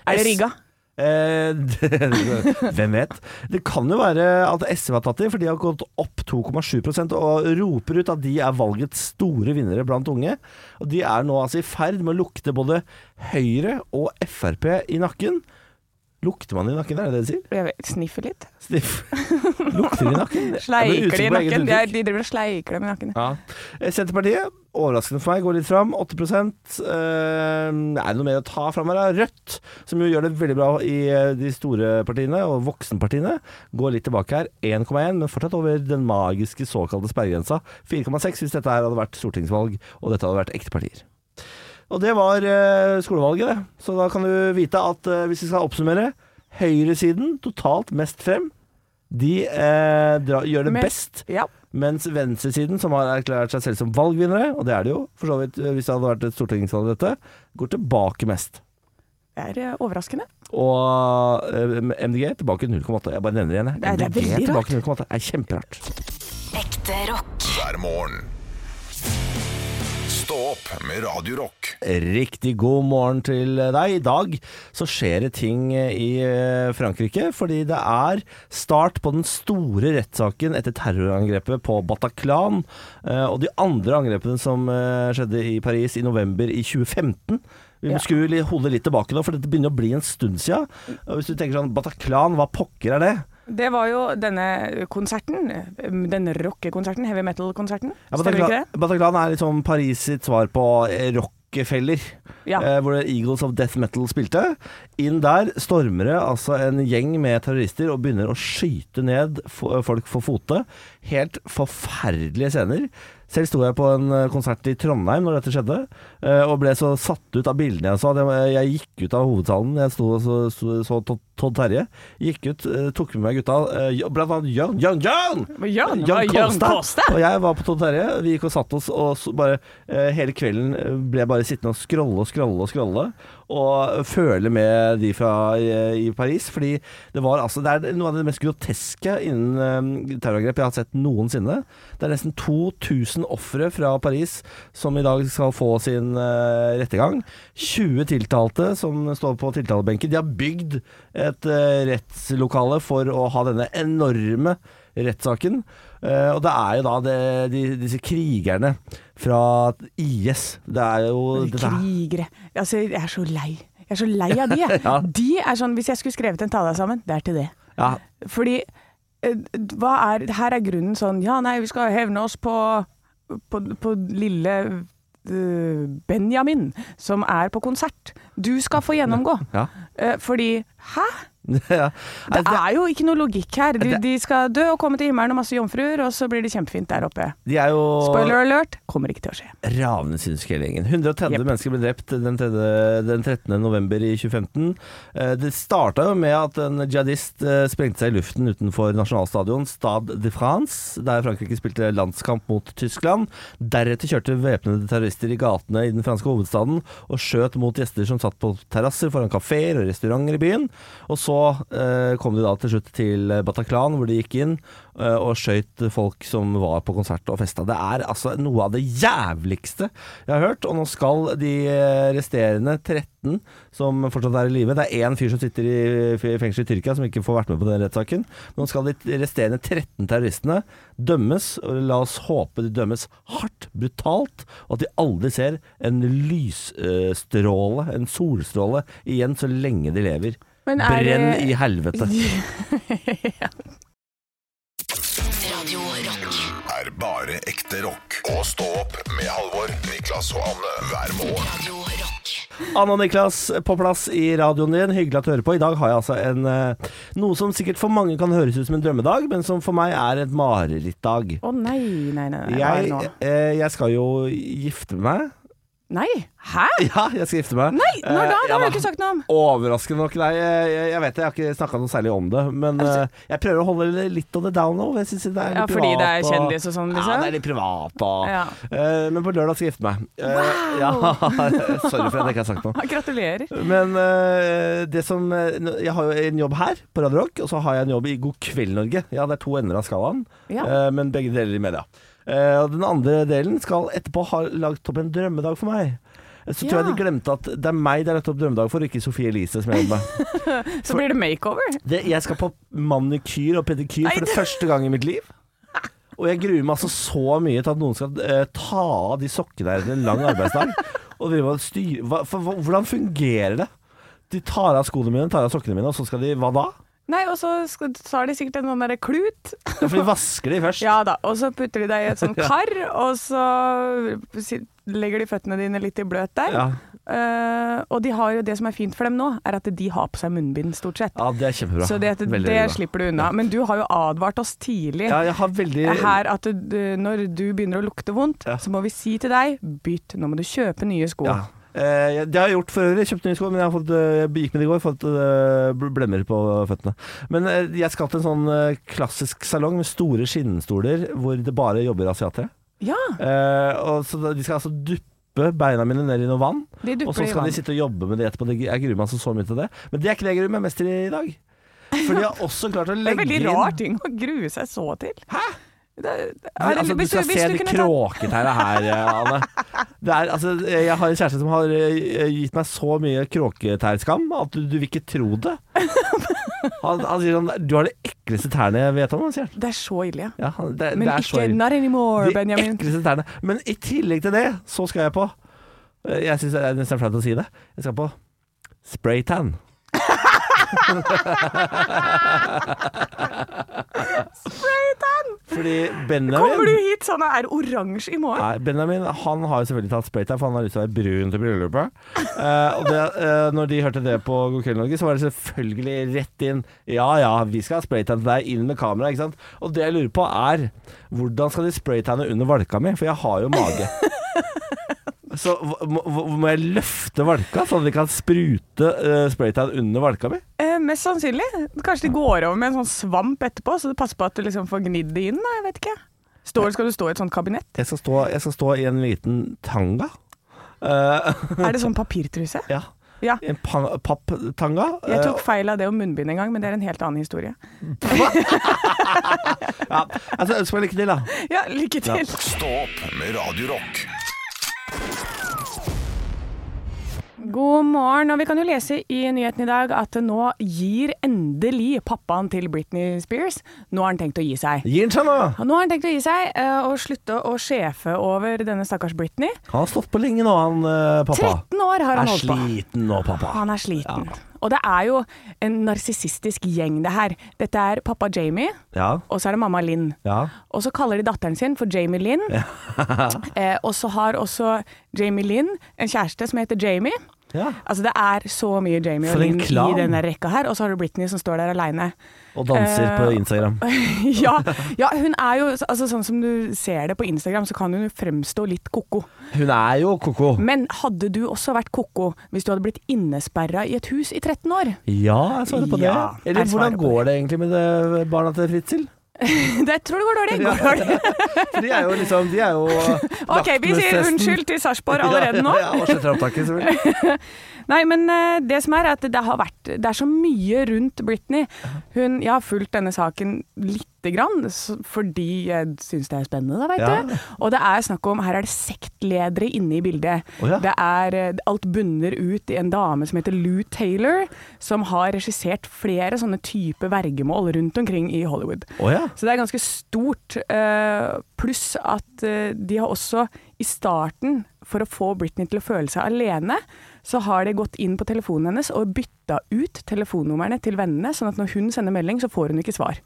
Er det
S-
rigga?
Eh, det- Eh, <laughs> Hvem vet? Det kan jo være at SV har tatt de, for de har gått opp 2,7 og roper ut at de er valgets store vinnere blant unge. Og de er nå altså i ferd med å lukte både Høyre og Frp i nakken. Lukter man i nakken, er det det de sier?
Jeg vet- Sniffer litt. <laughs>
Sniff. Lukter i nakken? Jeg ble
Sleiker de i
usikker på eget
nakken? De,
uttrykk.
er, de driver og sleiker dem i nakken.
Ja. Eh, Senterpartiet, overraskende for meg, går litt fram. 8 eh, Er det noe mer å ta fram her? da? Rødt, som jo gjør det veldig bra i eh, de store partiene og voksenpartiene, går litt tilbake her. 1,1, men fortsatt over den magiske såkalte sperregrensa. 4,6 hvis dette her hadde vært stortingsvalg og dette hadde vært ekte partier. Og det var eh, skolevalget, det. Så da kan du vite at eh, hvis vi skal oppsummere Høyresiden totalt mest frem. De eh, dra, gjør det
Men-
best.
Ja.
Mens venstresiden, som har erklært seg selv som valgvinnere, og det er det jo, for så vidt eh, hvis det hadde vært et stortingsvalg dette, går tilbake mest.
Det er eh, overraskende.
Og eh, MDG er tilbake 0,8. Jeg bare nevner det igjen. jeg.
Det er- det er
MDG
veldig rart.
tilbake 0,8 er kjemperart.
Ekte rock.
hver morgen. Stå opp med Radio Rock.
Riktig god morgen til deg. I dag så skjer det ting i eh, Frankrike, fordi det er start på den store rettssaken etter terrorangrepet på Bataclan eh, og de andre angrepene som eh, skjedde i Paris i november i 2015. Vi
Ja.
skulle li- holde litt tilbake nå, for dette begynner å bli en stund sia. Og Hvis du tenker sånn Bataclan, hva pokker er det?
Det var jo denne konserten, eh, den rockekonserten, heavy metal-konserten.
Ja,
Stemmer ikke
Bataclan,
det?
Bataclan er liksom Paris sitt svar på eh, Rockefeller.
Ja.
eh, hvor Eagles of Death Metal spilte. Inn der stormer det altså en gjeng med terrorister og begynner å skyte ned fo- eh, folk for fote. Helt forferdelige scener. Selv sto jeg på en eh, konsert i Trondheim når dette skjedde, eh, og ble så satt ut av bildene jeg så. at Jeg, jeg gikk ut av hovedsalen. Jeg sto og så, så, så Todd- Todd Terje. Gikk ut, eh, tok med meg gutta, eh, blant annet Jørn Jørn Jørn!
Jørn, det var Jørn Kolstad.
Og jeg var på Todd Terje. Vi gikk og satt oss, og så bare eh, hele kvelden eh, ble jeg bare sittende og scrolle og scrolle og scrolle. Og føle med de fra eh, i Paris. Fordi det var altså Det er noe av det mest groteske innen eh, terrorangrep jeg har sett noensinne. Det er nesten 2000 ofre fra Paris som i dag skal få sin eh, rettergang. 20 tiltalte som står på tiltalebenken. De har bygd et eh, rettslokale for å ha denne enorme rettssaken. Eh, og det er jo da det, de, disse krigerne fra IS. Det er jo
De
dette her.
Krigere. Altså, jeg er så lei. Jeg er så lei av
<laughs>
de, jeg.
Ja.
De er sånn, hvis jeg skulle skrevet en tale sammen, det er til det.
Ja, <laughs>
Fordi, eh, hva er, her er grunnen sånn, ja nei, vi skal hevne oss på, på, på lille eh, Benjamin, som er på konsert. Du skal få gjennomgå.
Ja.
Eh, Fordi, hæ?
ja.
Det er jo ikke noe logikk her. De,
Det-
de skal dø og komme til himmelen og masse jomfruer, og så blir det kjempefint der oppe.
De er jo
Spoiler alert, kommer ikke til å skje. <laughs>
ravende sinnssyke hele gjengen. 130
Jepp.
mennesker ble drept den, tredje, den 13. november i 2015. Eh, Det starta jo med at en jihadist eh, sprengte seg i luften utenfor nasjonalstadion Stade de France, der Frankrike spilte landskamp mot Tyskland. Deretter kjørte væpnede terrorister i gatene i den franske hovedstaden og skjøt mot gjester som satt på terrasser foran kafeer og restauranter i byen. Og så eh, kom de da til slutt til Bataclan, hvor de gikk inn eh, og skøyt folk som var på konsert og festa. Det er altså noe av det jævligste jeg har hørt. Og nå skal de eh, resterende 13 som fortsatt er i live Det er én fyr som sitter i f- fengsel i Tyrkia som ikke får vært med på den rettssaken. Men nå skal de resterende 13 terroristene dømmes, og la oss håpe de dømmes hardt, brutalt, og at de aldri ser en lysstråle, en solstråle, igjen så lenge de lever.
Men er det-
Brenn i
<laughs>
helvete.
Radio Rock.
Er bare ekte rock. Og stå opp med Halvor, Niklas og Anne hver morgen.
Radio Rock.
Anna og Niklas på plass i radioen din. Hyggelig at du hører på. I dag har jeg altså en eh, noe som sikkert for mange kan høres ut som en drømmedag, men som for meg er et marerittdag.
Å nei, nei, nei. nei, hva er det
Jeg,
nå?
eh, jeg skal jo gifte meg. <laughs>
nei. Hæ?
Ja, jeg skal gifte meg.
Nei, når da?
Eh,
Det har
ja
vi ikke sagt noe om.
Overraskende nok, nei. Jeg, jeg- jeg vet det, jeg har ikke snakka noe særlig om det. Men
Altså-
eh, jeg prøver å holde det litt on the down now. Jeg synes det er litt
Ja, fordi det er
privat, og-
kjendis og sånn,
Ja,
liksom?
det er litt privat og
Ja.
Eh, Men på lørdag skal jeg gifte meg. Eh, ja, <laughs> sorry for at jeg ikke har sagt noe.
Ah,
<laughs>
Gratulerer.
Men eh, det som eh, nå- Jeg har jo en jobb her på Radio Rock, og så har jeg en jobb i God kveld Norge. Ja, det er to ender av skalaen,
Ja.
eh, men begge deler i media. Eh, og den andre delen skal etterpå ha lagt opp en drømmedag for meg. Eh, Så tror jeg
Ja.
de glemte at det er meg det er lagt opp drømmedag for, og ikke Sofie Elise som jeg jobber med.
Så blir det makeover.
Det, jeg skal på manikyr og pedikyr
Nei,
for det
det-
første gang i mitt liv. Og jeg gruer meg altså så mye til at noen skal eh, ta av de sokkene her etter en lang arbeidsdag. Og drive og styre hva, for, hva- Hvordan fungerer det? De tar av skoene mine, tar av sokkene mine, og så skal de Hva da?
Nei, og så skal- så har de sikkert en sånn derre klut.
Ja, for de vasker de først.
Ja da, og så putter de deg i et
<laughs>
sånt kar, og så si- legger de føttene dine litt i bløt der.
Ja.
Eh, og de har jo det som er fint for dem nå, er at de har på seg munnbind stort sett.
Ja, det er kjempebra.
Så det,
Veldig,
det
veldig bra.
slipper du unna. Men du har jo advart oss tidlig
Ja, jeg har veldig
her at du, når du begynner å lukte vondt,
Ja.
så må vi si til deg bytt, nå må du kjøpe nye sko.
ja. Eh, jeg- det har jeg gjort for øvrig. Kjøpte nye sko, men jeg, har fått, eh, jeg gikk med det i går. Fått eh, bl- blemmer på føttene. Men eh, jeg skal til en sånn eh, klassisk salong med store skinnstoler hvor det bare jobber asiatere.
Ja,
Eh, og så da- de skal altså duppe beina mine ned i noe vann,
de
og
dupper
så
i
skal de
vann.
sitte og jobbe med det etterpå. Det- Jeg gruer meg altså så mye til det. Men det er ikke det jeg gruer meg mest til i dag. For de har
<laughs>
også klart å
Det er
legge
veldig
inn
rar ting å grue seg så til. Hæ? Det, det,
Men,
Arild,
altså, du
hvis
skal
hvis
se de
kunne tatt-
kråketegna her, eh, Anne. Det er, altså, jeg har en kjæreste som har eh, gitt meg så mye kråketeirskam at du, du vil ikke tro
<laughs>
det. Han, han sier sånn Du har de ekleste tærne jeg vet om, han sier han.
Det er så ille, ja.
Ja, han- det, det
Men
er så
ikke
ille.
not anymore,
De
Benjamin.
ekleste tærne. Men i tillegg til det, så skal jeg på eh, Jeg syns det er nesten flaut å si det. Jeg skal på spraytan. Fordi
Kommer du
Benjamin
hit sånn og er oransje i morgen?
Nei, Benjamin han har jo selvfølgelig tatt spraytan, for han har lyst til å være brun til bryllupet. Eh, og det, eh, når de hørte det på God kveld Norge, så var det selvfølgelig rett inn. Ja ja, vi skal ha spraytan til deg, inn med kamera, ikke sant. Og det jeg lurer på er, hvordan skal de spraytanne under valka mi? For jeg har jo <laughs> mage. Så hva- må, hva- må jeg løfte valka, sånn at de kan sprute eh, spraytan under valka mi?
Eh, mest sannsynlig. Kanskje de går over med en sånn svamp etterpå, så du passer på at du liksom får gnidd det inn. da, Jeg vet ikke. Står, skal du stå i et sånt kabinett?
Jeg skal stå, jeg skal stå i en liten tanga. Eh, <laughs>
Er det sånn papirtruse?
ja.
Ja.
En pa- papptanga.
Jeg
eh,
tok feil av det om munnbind en gang, men det er en helt annen historie.
Ja, altså, ønsk meg lykke til, da.
Ja, lykke til.
Stå opp med Radio Rock.
God morgen. Og vi kan jo lese i nyheten i dag at nå gir endelig pappaen til Britney Spears Nå har han tenkt å gi seg.
Gi den seg nå.
Og nå har han tenkt å gi seg eh, og slutte å sjefe over denne stakkars Britney.
Han har stått på lenge nå, han eh, pappa.
13 år har han
Er
holdt på.
sliten nå, pappa.
Han er sliten. Og det er jo en narsissistisk gjeng, det her. Dette er pappa Jamie,
Ja,
og så er det mamma Linn.
ja.
Og så kaller de datteren sin for Jamie Linn. <laughs> eh, og så har også Jamie Linn en kjæreste som heter Jamie.
ja.
Altså Det er så mye Jamie
For
og
en
Linn
klan.
i denne rekka her. Og så har du Britney som står der aleine. <laughs>
Og danser på
Eh,
Instagram.
ja, ja, hun er jo altså, Sånn som du ser det på Instagram, så kan hun jo fremstå litt ko-ko.
Hun er jo ko-ko.
Men hadde du også vært ko-ko hvis du hadde blitt innesperra i et hus i 13 år? <laughs>
Ja, jeg svarer på det.
Ja,
Eller
jeg svarer
hvordan
på
går det egentlig med det barna til Fritzel?
Det tror det går dårlig. Går dårlig.
For de er jo liksom De er jo
Ok, vi sier
vaktmestesten.
unnskyld til Sarpsborg <laughs> allerede nå.
Ja, ja, ja, og sletter opptaket,
<laughs>
selvfølgelig.
Nei, men eh, det som er at det har vært Det er så mye rundt Britney. Hun, jeg har fulgt denne saken lite grann s- fordi jeg syns det er spennende, da, veit
Ja.
du. Og det er snakk om Her er det sektledere inne i bildet.
Å ja.
Det er eh, Alt bunner ut i en dame som heter Lou Taylor, som har regissert flere sånne type vergemål rundt omkring i Hollywood.
Å ja.
Så det er ganske stort. eh, Pluss at eh, de har også i starten, for å få Britney til å føle seg alene, så har de gått inn på telefonen hennes og bytta ut telefonnumrene til vennene, sånn at når hun sender melding, så får hun ikke svar.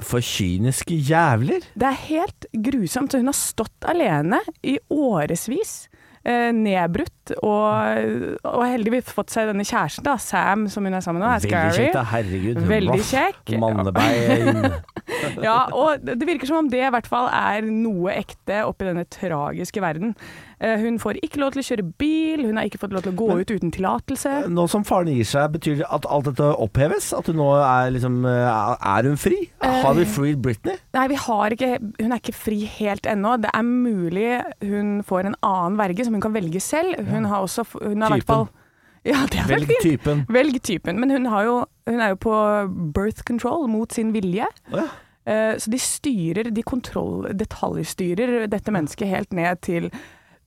For kyniske jævler.
Det er helt grusomt. Så hun har stått alene i årevis. eh, nedbrutt, og, og heldigvis fått seg denne kjæresten, da, Sam, som hun er sammen med nå, er
Veldig
scary.
kjekt, da. Herregud.
Veldig
Voff,
kjekk. <laughs>
Mannebein.
Ja, og det virker som om det i hvert fall er noe ekte oppi denne tragiske verden. Eh, Hun får ikke lov til å kjøre bil, hun har ikke fått lov til å gå ut uten tillatelse.
Nå som faren gir seg, betyr det at alt dette oppheves? At hun nå er liksom eh, Er hun fri? Har vi freed <laughs> Britney?
Nei, vi har ikke, hun er ikke fri helt ennå. Det er mulig hun får en annen verge som hun kan velge selv. Hun har også f- hun har i hvert
Typen.
fall- Ja, det er
Velg
veldig fint.
typen.
Velg typen. Men hun, har jo, hun er jo på birth control mot sin vilje.
Å ja.
Eh, Så de styrer, de kontroll, detaljstyrer dette mennesket helt ned til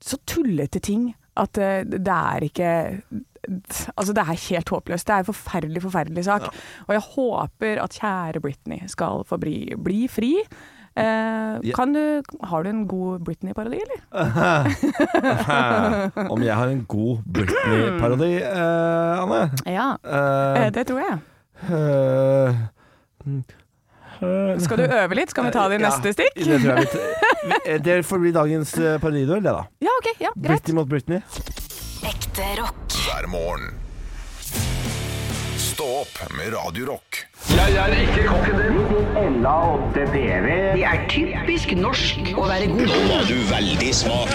så tullete ting at eh, det er ikke Altså, det er helt håpløst. Det er en forferdelig, forferdelig sak. Og jeg håper at kjære Britney skal få bli, bli fri. Eh,
Ja.
kan du, har du en god Britney-parodi, eller?
Om jeg har en god Britney-parodi, eh, Anne?
Ja,
Eh,
det tror jeg.
eh,
Skal du øve litt? Skal vi ta det i
ja,
neste stikk?
Det tror jeg vi t- Det får bli dagens eh, parodiduell, det da.
Ja, OK. Ja, greit.
Britney mot Britney.
Ekte rock.
hver morgen. Stå opp med Radio Rock.
Det er typisk norsk å være god. Nå var du veldig smak.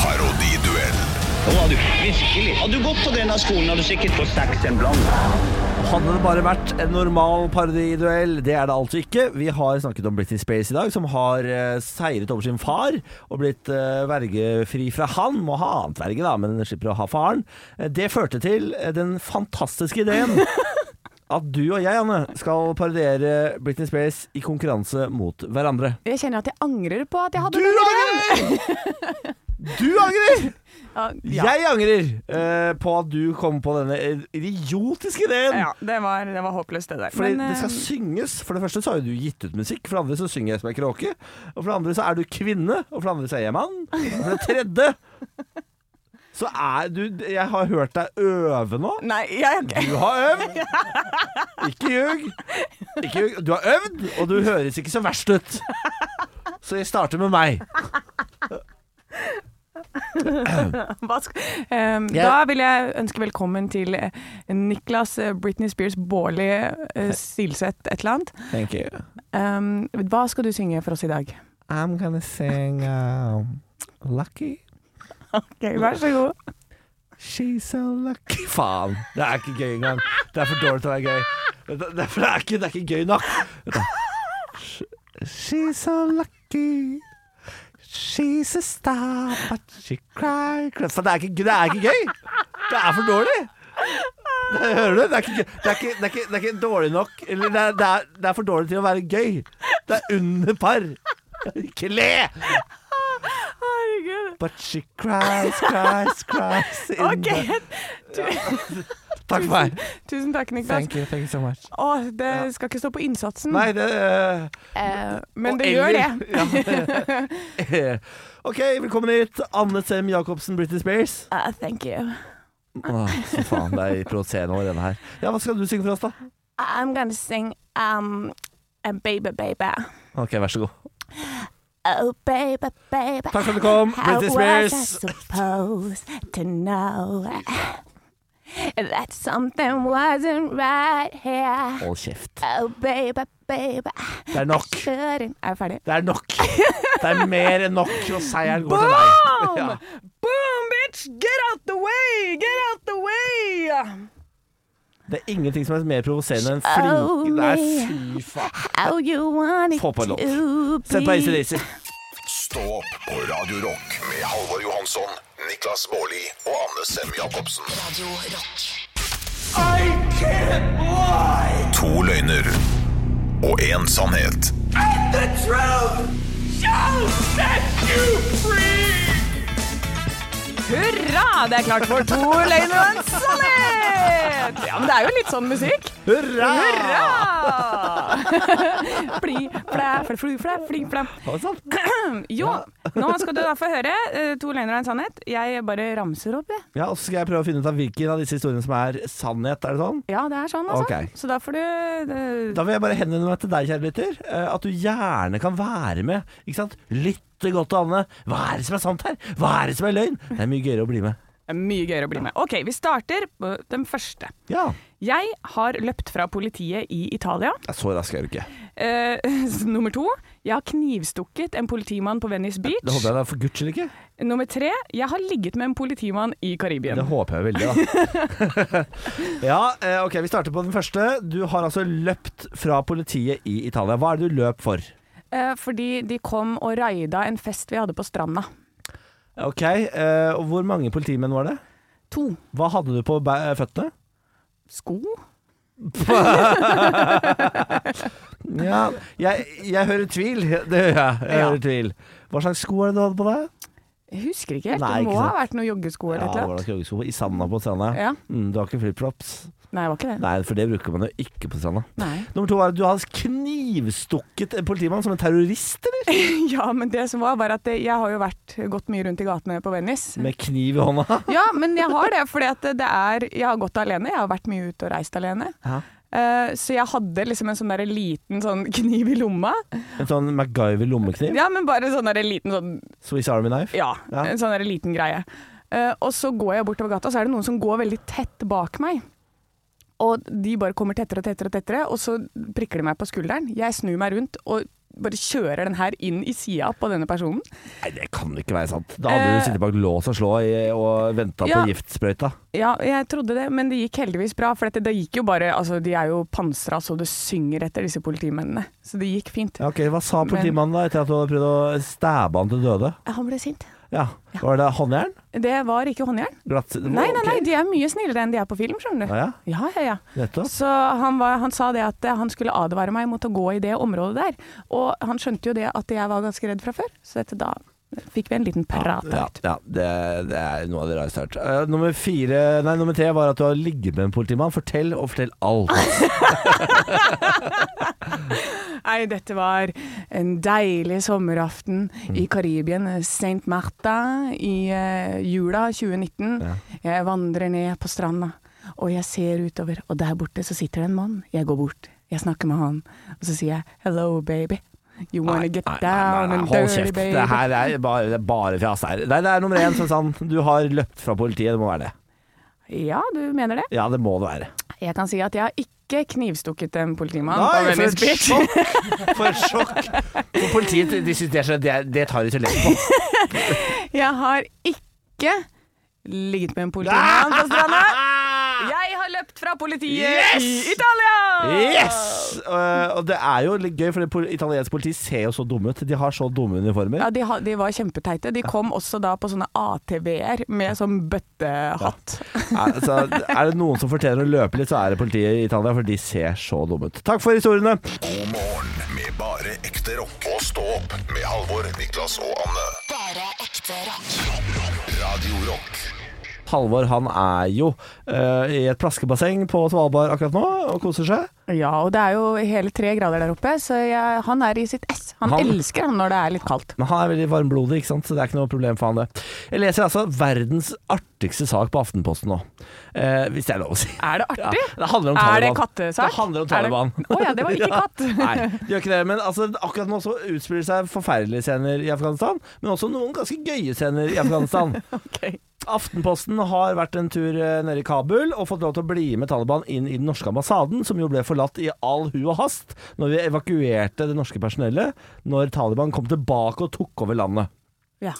Parodiduell
Nå var du virkelig. Hadde du gått på denne skolen, hadde du sikkert fått seks en blant.
Hadde det bare vært en normal parodiduell, det er det altså ikke. Vi har snakket om Britney Spears i dag, som har eh, seiret over sin far og blitt eh, vergefri fra han. Må ha annet verge, da, men slipper å ha faren. Eh, det førte til eh, den fantastiske ideen
<laughs>
at du og jeg, Anne, skal parodiere Britney Spears i konkurranse mot hverandre.
Jeg kjenner at jeg angrer på at jeg
Du
hadde den ideen.
angrer! Du angrer!
Ja, <laughs> ja.
Jeg angrer eh, på at du kom på denne idiotiske ideen.
ja det, var, det var håpløst, det der.
Fordi
Men,
det skal
eh,
synges. For det første så har jo du gitt ut musikk. For det andre så synger jeg som en kråke. Og for det andre så er du kvinne. Og for det andre så er jeg mann. Og for det tredje så er du Jeg har hørt deg øve nå.
Nei, jeg,
Du har øvd. Ikke ljug. Ikke ljug. Du har øvd, og du høres ikke så verst ut. Så jeg starter med meg.
hva skal, Ehm,
Jeg-
Da vil jeg ønske velkommen til eh, Niklas eh, Britney Spears Baarli eh, Silseth et eller annet.
Thank you.
Ehm, hva skal du synge for oss i dag?
I'm gonna sing um, Lucky.
Ok, Vær så god.
She's so lucky Faen, det er ikke gøy engang. Det er for dårlig til å være gøy. Det, det, er- for det, er, ikke, det er ikke gøy nok. Vent da. Sh- She's so lucky. She's a star, but she cry, cry. For det, er ikke, det er ikke gøy. Det er for dårlig. Det, hører du? Det er, ikke, gøy. det, er ikke, det, er ikke, det er ikke dårlig nok. Eller det er, det, er, det er for dårlig til å være gøy. Det er under par. Ikke le!
Herregud.
But she cries, cries, cries in
Ok, <laughs>
the Takk for meg.
Tusen takk, Niklas.
Thank you, thank you so much.
Å, det skal ikke stå på innsatsen,
Nei, det
Eh,
og
men det gjør
eller-
det.
<laughs> Ja. OK, velkommen hit. Anne Sem Jacobsen, Britney Spears.
Ah, thank you.
Åh, så faen, det er provoserende over denne her. Ja, Hva skal du synge for oss, da?
I'm gonna sing um, a baby baby.
OK, vær så god.
Oh, baby, baby.
Takk for at du kom,
How
Britney
was I
Spears.
supposed to know that something wasn't right here?
Hold kjeft.
Oh, baby, baby.
Det er nok.
Shouldn't Er vi ferdig?
Det er <laughs> nok. Det er mer enn nok, og seieren går til deg. Ja.
Boom, bitch! Get out the way! Get out the way!
Det er ingenting som er mer provoserende enn flinke Nei, fy faen.
How Oh, you want it
Få på en låt.
to be.
Sett på ACDC.
Stå opp på Radio Rock med Halvor Johansson, Niklas Baarli og Anne Sem Jacobsen.
Radio Rock.
To løgner og én sannhet.
Hurra! Det er klart for to løgner og en sannhet! Ja, men det er jo litt sånn musikk.
Hurra!
Hurra! Fli, flæ, flæ, flu, flæ, fli, flæ.
Hva
sånn?
sant?
Jo, nå skal du da få høre eh, to løgner og en sannhet. Jeg bare ramser opp, jeg.
Ja, og så skal jeg prøve å finne ut av hvilken av disse historiene som er sannhet, er det sånn?
Ja, det er sånn, altså.
Ok.
Så da får du eh,
Da vil jeg bare henvende meg til deg, kjære lytter, eh, at du gjerne kan være med, ikke sant? Lytte godt til Anne. Hva er det som er sant her? Hva er det som er løgn? Det er mye gøyere å bli med.
Det er mye gøyere å bli med. OK, vi starter på den første.
Ja.
Jeg har løpt fra politiet i Italia.
Så rask er du ikke.
Eh, <laughs> nummer to. Jeg har knivstukket en politimann på Venice
Det
Beach.
håper jeg da for guds skyld ikke.
Nummer tre. Jeg har ligget med en politimann i Karibien.
Det håper jeg veldig, da. <laughs> ja, eh, ok, vi starter på den første. Du har altså løpt fra politiet i Italia. Hva er det du løp for?
Eh, fordi de kom og raida en fest vi hadde på stranda.
Ok, eh, og hvor mange politimenn var det?
To.
Hva hadde du på bæ- eh, føttene?
Sko?
Ja, jeg, jeg hører tvil. <laughs> Det gjør jeg. Jeg
Ja.
hører tvil. Hva slags sko er det du hadde på deg?
Jeg husker ikke helt.
Nei,
det
ikke
må ha
sant.
vært noen joggesko eller
Ja,
et
det
eller
var da
annet.
joggesko i sanda på stranda.
Ja.
Mm, du har ikke flipflops?
Nei, det var ikke det.
Nei, for det bruker man jo ikke på stranda.
Nei. <laughs>
Nummer to er at du har knivstukket en politimann som en terrorist, eller?
Ja, men det som var, var at eh, jeg har jo vært gått mye rundt i gatene på Venice.
Med kniv i hånda.
Ja, men jeg har det, fordi at det er Jeg har gått alene, jeg har vært mye ute og reist alene.
Ja.
Eh, så jeg hadde liksom en sånn der liten sånn kniv i lomma.
<laughs> En sånn MacGyver-lommekniv.
Ja, men bare sånn der liten sånn
Swiss Army knife.
Ja,
Ja.
en sånn der liten greie. Eh, og så går jeg bortover gata, og så er det noen som går veldig tett bak meg. Og de bare kommer tettere og tettere, og tettere, og så prikker de meg på skulderen. Jeg snur meg rundt og bare kjører den her inn i sida på denne personen.
Nei, det kan ikke være sant. Da hadde
Eh.
du sittet bak lås og slå i, og venta
Ja.
på giftsprøyta.
Ja, jeg trodde det, men det gikk heldigvis bra. For det, det gikk jo bare Altså, de er jo pansra så det synger etter disse politimennene. Så det gikk fint.
Ja, ok, Hva sa
Men-
politimannen da etter at du hadde prøvd å stabbe han til døde?
Han ble sint.
Ja, Var det håndjern?
Det var ikke håndjern.
Glatt...
Nei, nei, nei,
Ok.
de er mye snillere enn de er på film, skjønner du.
Ja, ja.
ja, ja, ja.
Nettopp.
Så han, var, han sa det at eh, han skulle advare meg mot å gå i det området der. Og han skjønte jo det at jeg var ganske redd fra før, så dette da fikk vi en liten prat.
Ja,
ut.
ja det, det er noe av det rareste jeg har hørt. Eh, nummer fire Nei, nummer tre var at du har ligget med en politimann. Fortell, og fortell alt.
Nei, dette var en deilig sommeraften
Mm.
i Karibien, St. Marta, i eh, jula 2019. Jeg vandrer ned på stranda, og jeg ser utover, og der borte så sitter det en mann. Jeg går bort, jeg snakker med han, og så sier jeg 'hello, baby'. You wanna get down and
hold
dirty,
kjeft.
baby.
Det her er bare, det er bare fjas her. Nei, det er nummer én som sann. Du har løpt fra politiet. Det må være det.
Ja, du mener det?
Ja, det må det være.
Jeg kan si at jeg har ikke knivstukket en politimann på
Nei, for
Venice
et
Beach.
sjokk! For et sjokk! For politiet de synes det, er så, det, er- det tar de så lett på.
<laughs> Jeg har ikke ligget med en politimann på stranda. Jeg har løpt fra politiet
Yes!
i Italia!
Yes! Eh, og det er jo litt gøy, for det pol- italiensk politi ser jo så dumme ut. De har så dumme uniformer.
Ja, de, ha- de var kjempeteite. De kom også da på sånne ATV-er med sånn bøttehatt.
Er, så er det noen som fortjener å løpe litt, så er det politiet i Italia, for de ser så dumme ut. Takk for historiene!
God morgen med bare ekte rock. Og stå opp med Halvor, Niklas og Anne.
Bare ekte rock.
Radio Rock
Halvor han er jo eh, i et plaskebasseng på Svalbard akkurat nå og koser seg.
Ja, og det er jo hele tre grader der oppe, så jeg, han er i sitt ess. Han,
Han-
elsker han når det er litt kaldt.
Men han er veldig varmblodig, ikke sant? så det er ikke noe problem for han det. Jeg leser altså verdens artigste sak på Aftenposten nå, eh, hvis det er lov å si.
Er det artig?
Ja, det handler om
Er
Taliban.
det kattesak?
Det handler om
Er det-
Taliban.
Å ja, det var
<laughs>
ikke katt.
Nei, det gjør ikke det. Men altså, akkurat nå så utspiller det seg forferdelige scener i Afghanistan, men også noen ganske gøye scener i
<laughs>
Afghanistan.
Ok.
Aftenposten har vært en tur eh, nede i Kabul og fått lov til å bli med Taliban inn i den norske ambassaden, som jo ble forlatt i all hu og hast når vi evakuerte det norske personellet når Taliban kom tilbake og tok over landet.
Ja.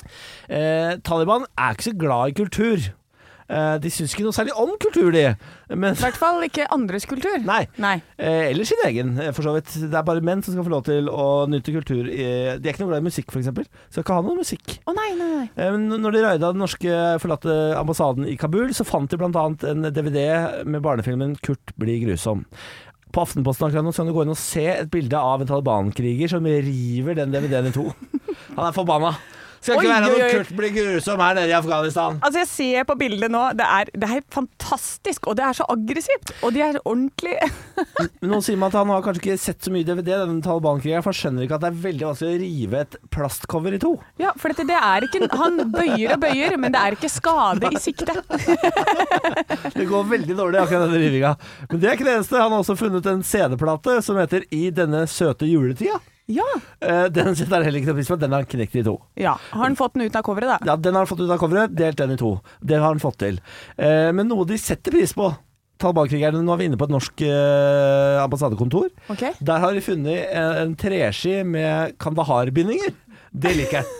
Eh, Taliban er ikke så glad i kultur. Eh, de syns ikke noe særlig om kultur, de. Men
I hvert fall ikke andres kultur.
Nei.
Nei.
Eh, eller sin egen, eh, for så vidt. Det er bare menn som skal få lov til å nyte kultur. i- De er ikke noe glad i musikk, f.eks. Skal ikke ha noe musikk.
Å nei, nei, nei.
Eh, Men når de raida den norske forlatte ambassaden i Kabul, så fant de bl.a. en DVD med barnefilmen 'Kurt blir grusom'. På Aftenposten akkurat nå så kan du gå inn og se et bilde av en Taliban-kriger som river den DVD-en i to. <laughs> Han er forbanna.
Skal ikke
Oi,
være
oi,
noe
oi.
Kurt blir grusom her nede i Afghanistan.
Altså Jeg ser på bildet nå, det er, det er fantastisk, og det er så aggressivt. Og de er ordentlig <laughs>
Men Noen sier meg at han har kanskje ikke sett så mye DVD, denne Taliban-krigeren, for han skjønner ikke at det er veldig vanskelig å rive et plastcover i to.
Ja, for dette, det er ikke Han bøyer og bøyer, men det er ikke skade i sikte.
Det går veldig dårlig, akkurat den rivinga. Men det er ikke det eneste. Han har også funnet en CD-plate som heter I denne søte juletida.
Ja.
Eh, Den setter han heller ikke noe pris på. Den har han knekt i to.
ja. Har han fått den ut av coveret, da?
Ja, Den har han fått ut av coveret, delt den i to. Det har han fått til. Eh, Men noe de setter pris på Taliban-krigerne, nå er vi inne på et norsk eh, ambassadekontor.
Ok.
Der har de funnet en, en treski med kandahar-bindinger. Det liker jeg.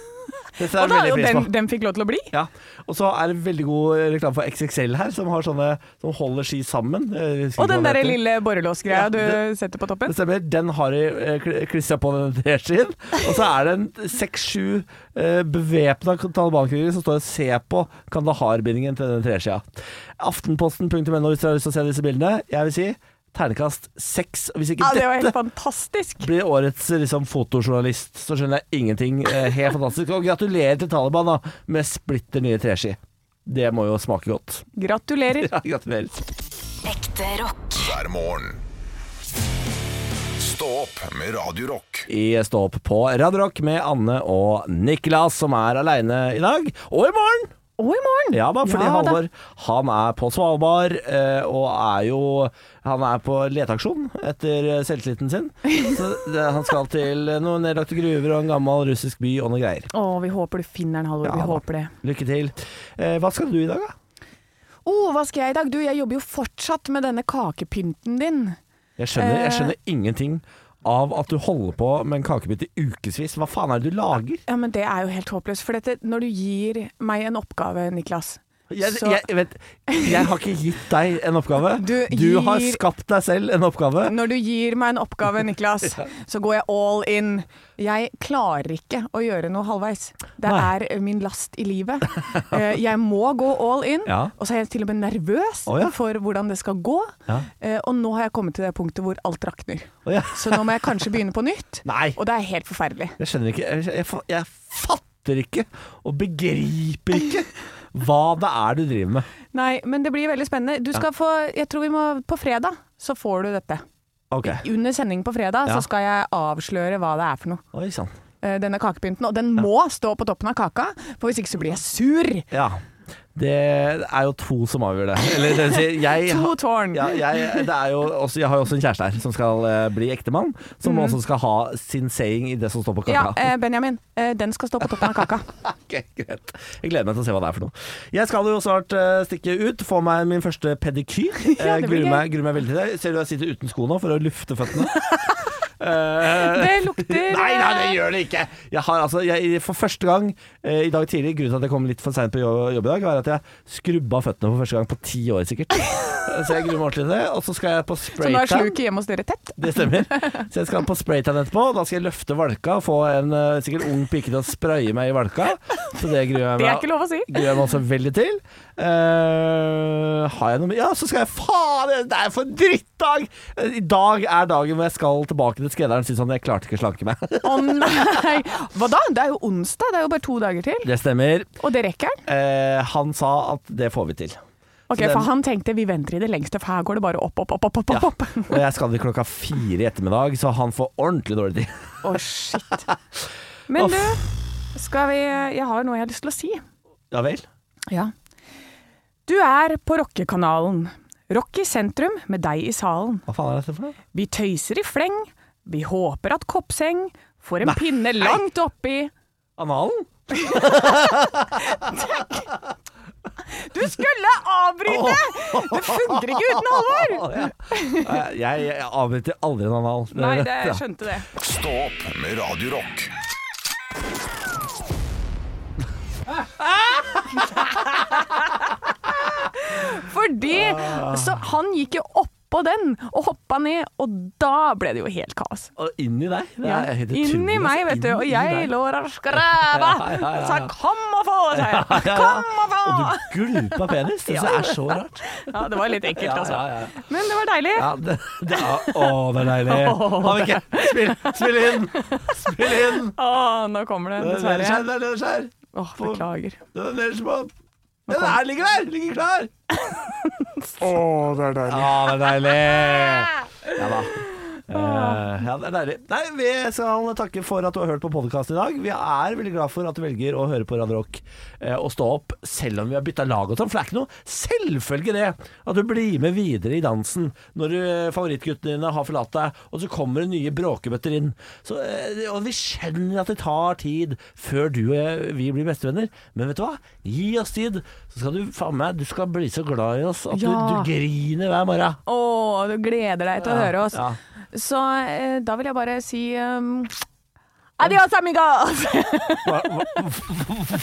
Det setter
<laughs> Og
han
da er
veldig
jo
pris på.
den, den fikk lov til å bli.
Ja, og så er det veldig god reklame for XXL her, som, har sånne, som holder ski sammen. Jeg husker
Og
ikke hva
den
det
derre
heter.
lille borrelåsgreia
Ja, det-
du setter på toppen.
Det stemmer, den har de klistra på den <laughs> treskien. Og så er det en seks-sju eh, bevæpna Taliban-krigere som står og ser på Kandahar-bindingen til den treskia. Aftenposten.no hvis dere har lyst til å se disse bildene. Jeg vil si ternekast seks. Hvis ikke
<laughs> Ja, det var helt
dette
fantastisk.
blir årets liksom, fotojournalist, så skjønner jeg ingenting. Eh, helt fantastisk. Og gratulerer til Taliban da, med splitter nye treski. Det må jo smake godt.
Gratulerer.
Ja, gratulerer.
Ekte rock.
hver morgen. Stå opp med Radio Rock.
i Stå opp på Radio Rock med Anne og Niklas, som er aleine i dag. Og i morgen!
Og i morgen.
Ja da, fordi
Ja da.
Halvor han er på Svalbard eh, og er jo Han er på leteaksjon etter eh, selvtilliten sin. Så det, han skal til eh, noen nedlagte gruver og en gammel russisk by og noe greier.
Å, vi håper du finner den, Halvor.
Ja, da.
Vi håper det.
Lykke til. Eh, hva skal du i dag, da?
Å, hva skal jeg i dag? Du, jeg jobber jo fortsatt med denne kakepynten din.
Jeg skjønner,
Eh.
jeg skjønner ingenting av at du holder på med en kakebit i ukevis. Hva faen er det du lager?
Ja, men det er jo helt håpløst. For dette, når du gir meg en oppgave, Niklas
Jeg,
Så-
jeg, vet, jeg har ikke gitt deg en oppgave. Du,
Du
har
gir-
skapt deg selv en oppgave.
Når du gir meg en oppgave, Niklas,
<laughs>
så går jeg all in. Jeg klarer ikke å gjøre noe halvveis. Det
Nei.
er eh, min last i livet. Eh, Jeg må gå all in,
Ja.
og så er jeg til og med nervøs
Å, ja.
for hvordan det skal gå.
Ja.
Eh, Og nå har jeg kommet til det punktet hvor alt rakner.
Å, ja.
Så nå må jeg kanskje begynne på nytt,
<laughs> Nei.
og det er helt forferdelig.
Jeg skjønner ikke jeg, jeg, fa- jeg fatter ikke og begriper ikke hva det er du driver med.
Nei, men det blir veldig spennende. Du skal få, jeg tror vi må, på fredag så får du dette.
Ok.
Under sending på fredag
Ja.
så skal jeg avsløre hva det er for noe.
Oi sann.
eh, denne kakepynten, og den må stå på toppen av kaka, for hvis ikke så blir jeg sur.
Ja. Det er jo to som avgjør det. Eller det vil si, jeg
To
har-
tårn.
Ja, jeg, det er jo også, jeg har jo også en kjæreste her som skal eh, bli ektemann, som også skal ha sin saying i det som står på
Mhm. Ja,
kaka.
eh, Benjamin, eh, den skal stå på toppen
<laughs>
av kaka.
Ok, greit. Jeg gleder meg til å se hva det er for noe. Jeg skal jo snart eh, stikke ut, få meg min første pedikyr.
<laughs> Ja,
Eh,
det blir
gruer,
gøy.
meg, gruer meg veldig til det. Ser du jeg sitter uten sko nå for å lufte
<laughs>
føttene? Eh,
Det
<laughs>
lukter eh,
Nei, nei, det gjør det ikke! Jeg har altså, jeg, for første gang eh, i dag tidlig, grunnen til at jeg kom litt for seint på jobb, jobb i dag, var at jeg skrubba føttene for første gang på ti år
<laughs>
sikkert. Eh, Så jeg gruer meg ordentlig til det. Og så skal jeg på
Så nå er
spraytan.
sluket hjemme hos dere tett.
Det stemmer. Så jeg skal på spraytan etterpå. Da skal jeg løfte valka og få en eh, sikkert ung pike til å spraye meg i valka. Så det gruer jeg meg
Det er ikke lov å si.
Gruer jeg meg også veldig til. Eh, har jeg noe mer? Ja, så skal jeg Faen, det- det er for en drittdag! I dag er dagen hvor jeg skal tilbake til skredderen og si sånn Jeg klarte ikke å slanke meg.
Å nei! Hva da? Det er jo onsdag, <laughs> det er jo bare to dager til.
Det stemmer.
Og det rekker han.
Eh, han sa at det får vi til. Så
Ok,
den-
For han tenkte vi venter i det lengste, for her går det bare opp, opp, opp. opp, opp, opp. opp.
Og jeg skal dit klokka fire i ettermiddag, så han får ordentlig dårlig tid.
Å, shit. <laughs> Men
Uff.
du, skal vi Jeg har noe jeg har lyst til å si.
Ja vel?
Ja. Du er på rockekanalen. Rock i sentrum, med deg i salen.
Hva faen er dette for noe?
Vi tøyser i fleng. Vi håper at koppseng får en pinne langt oppi
Analen?
Du skulle avbryte! Det funker ikke uten Halvor!
<laughs> Ja. Jeg, jeg avbryter aldri en anal.
Nei, det, jeg skjønte det.
Stå opp med Radio Rock.
Fordi så han gikk jo oppå oppå den og hoppa ned, og da ble det jo helt kaos.
Og inni deg. Det
Ja.
er helt
Inni
utrolig,
meg,
altså.
vet du, og
Inni
jeg
deg.
lå og skræva
Ja, ja, ja, ja.
og sa 'kom og få', sa jeg.
Ja, ja, ja.
Kom og få!
Og du gulpa penis. Det
<laughs>
synes jeg er så rart.
Ja, det var litt ekkelt,
Ja,
altså.
ja, ja.
Men det var deilig.
Ja, det, det er, å, det er
<laughs>
deilig.
Å,
Har vi ikke? Spill, spill inn! Spill inn!
Å, nå kommer det,
Det er
dessverre.
nederst her, det er nederst her.
Åh, beklager.
Det er nederst på Den her ligger der! Ligger
<laughs>
klar! Å, det er deilig.
<laughs>
Ja, det er deilig. Ja da. Eh, ja, det er deilig. Nei, vi skal takke for at du har hørt på podkast i dag. Vi er veldig glad for at du velger å høre på Radio Rock eh, og stå opp, selv om vi har bytta lag og sånn. For det er ikke noe selvfølge det at du blir med videre i dansen når eh, favorittguttene dine har forlatt deg, og så kommer det nye bråkebøtter inn. Så, eh, og vi skjønner at det tar tid før du og jeg, vi blir bestevenner, men vet du hva? Gi oss tid, så skal du faen meg Du skal bli så glad i oss at du,
Ja.
du griner hver morgen.
Å, du gleder deg til å
Ja,
høre oss.
ja.
Så eh, da vil jeg bare si um, Adios, amigos!
Hva, hva, hva,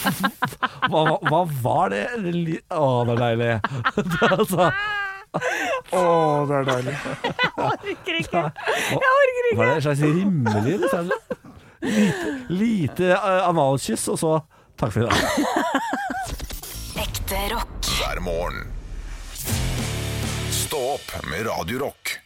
hva, hva var det? Det li- Å, det er deilig. <laughs> Det, altså,
orker ikke. Jeg orker
var
ikke.
det en slags rimelig liksom? Lite, lite eh, analkyss, og så takk for i dag.
Ekte rock.
hver morgen. Stå opp med Radio Rock.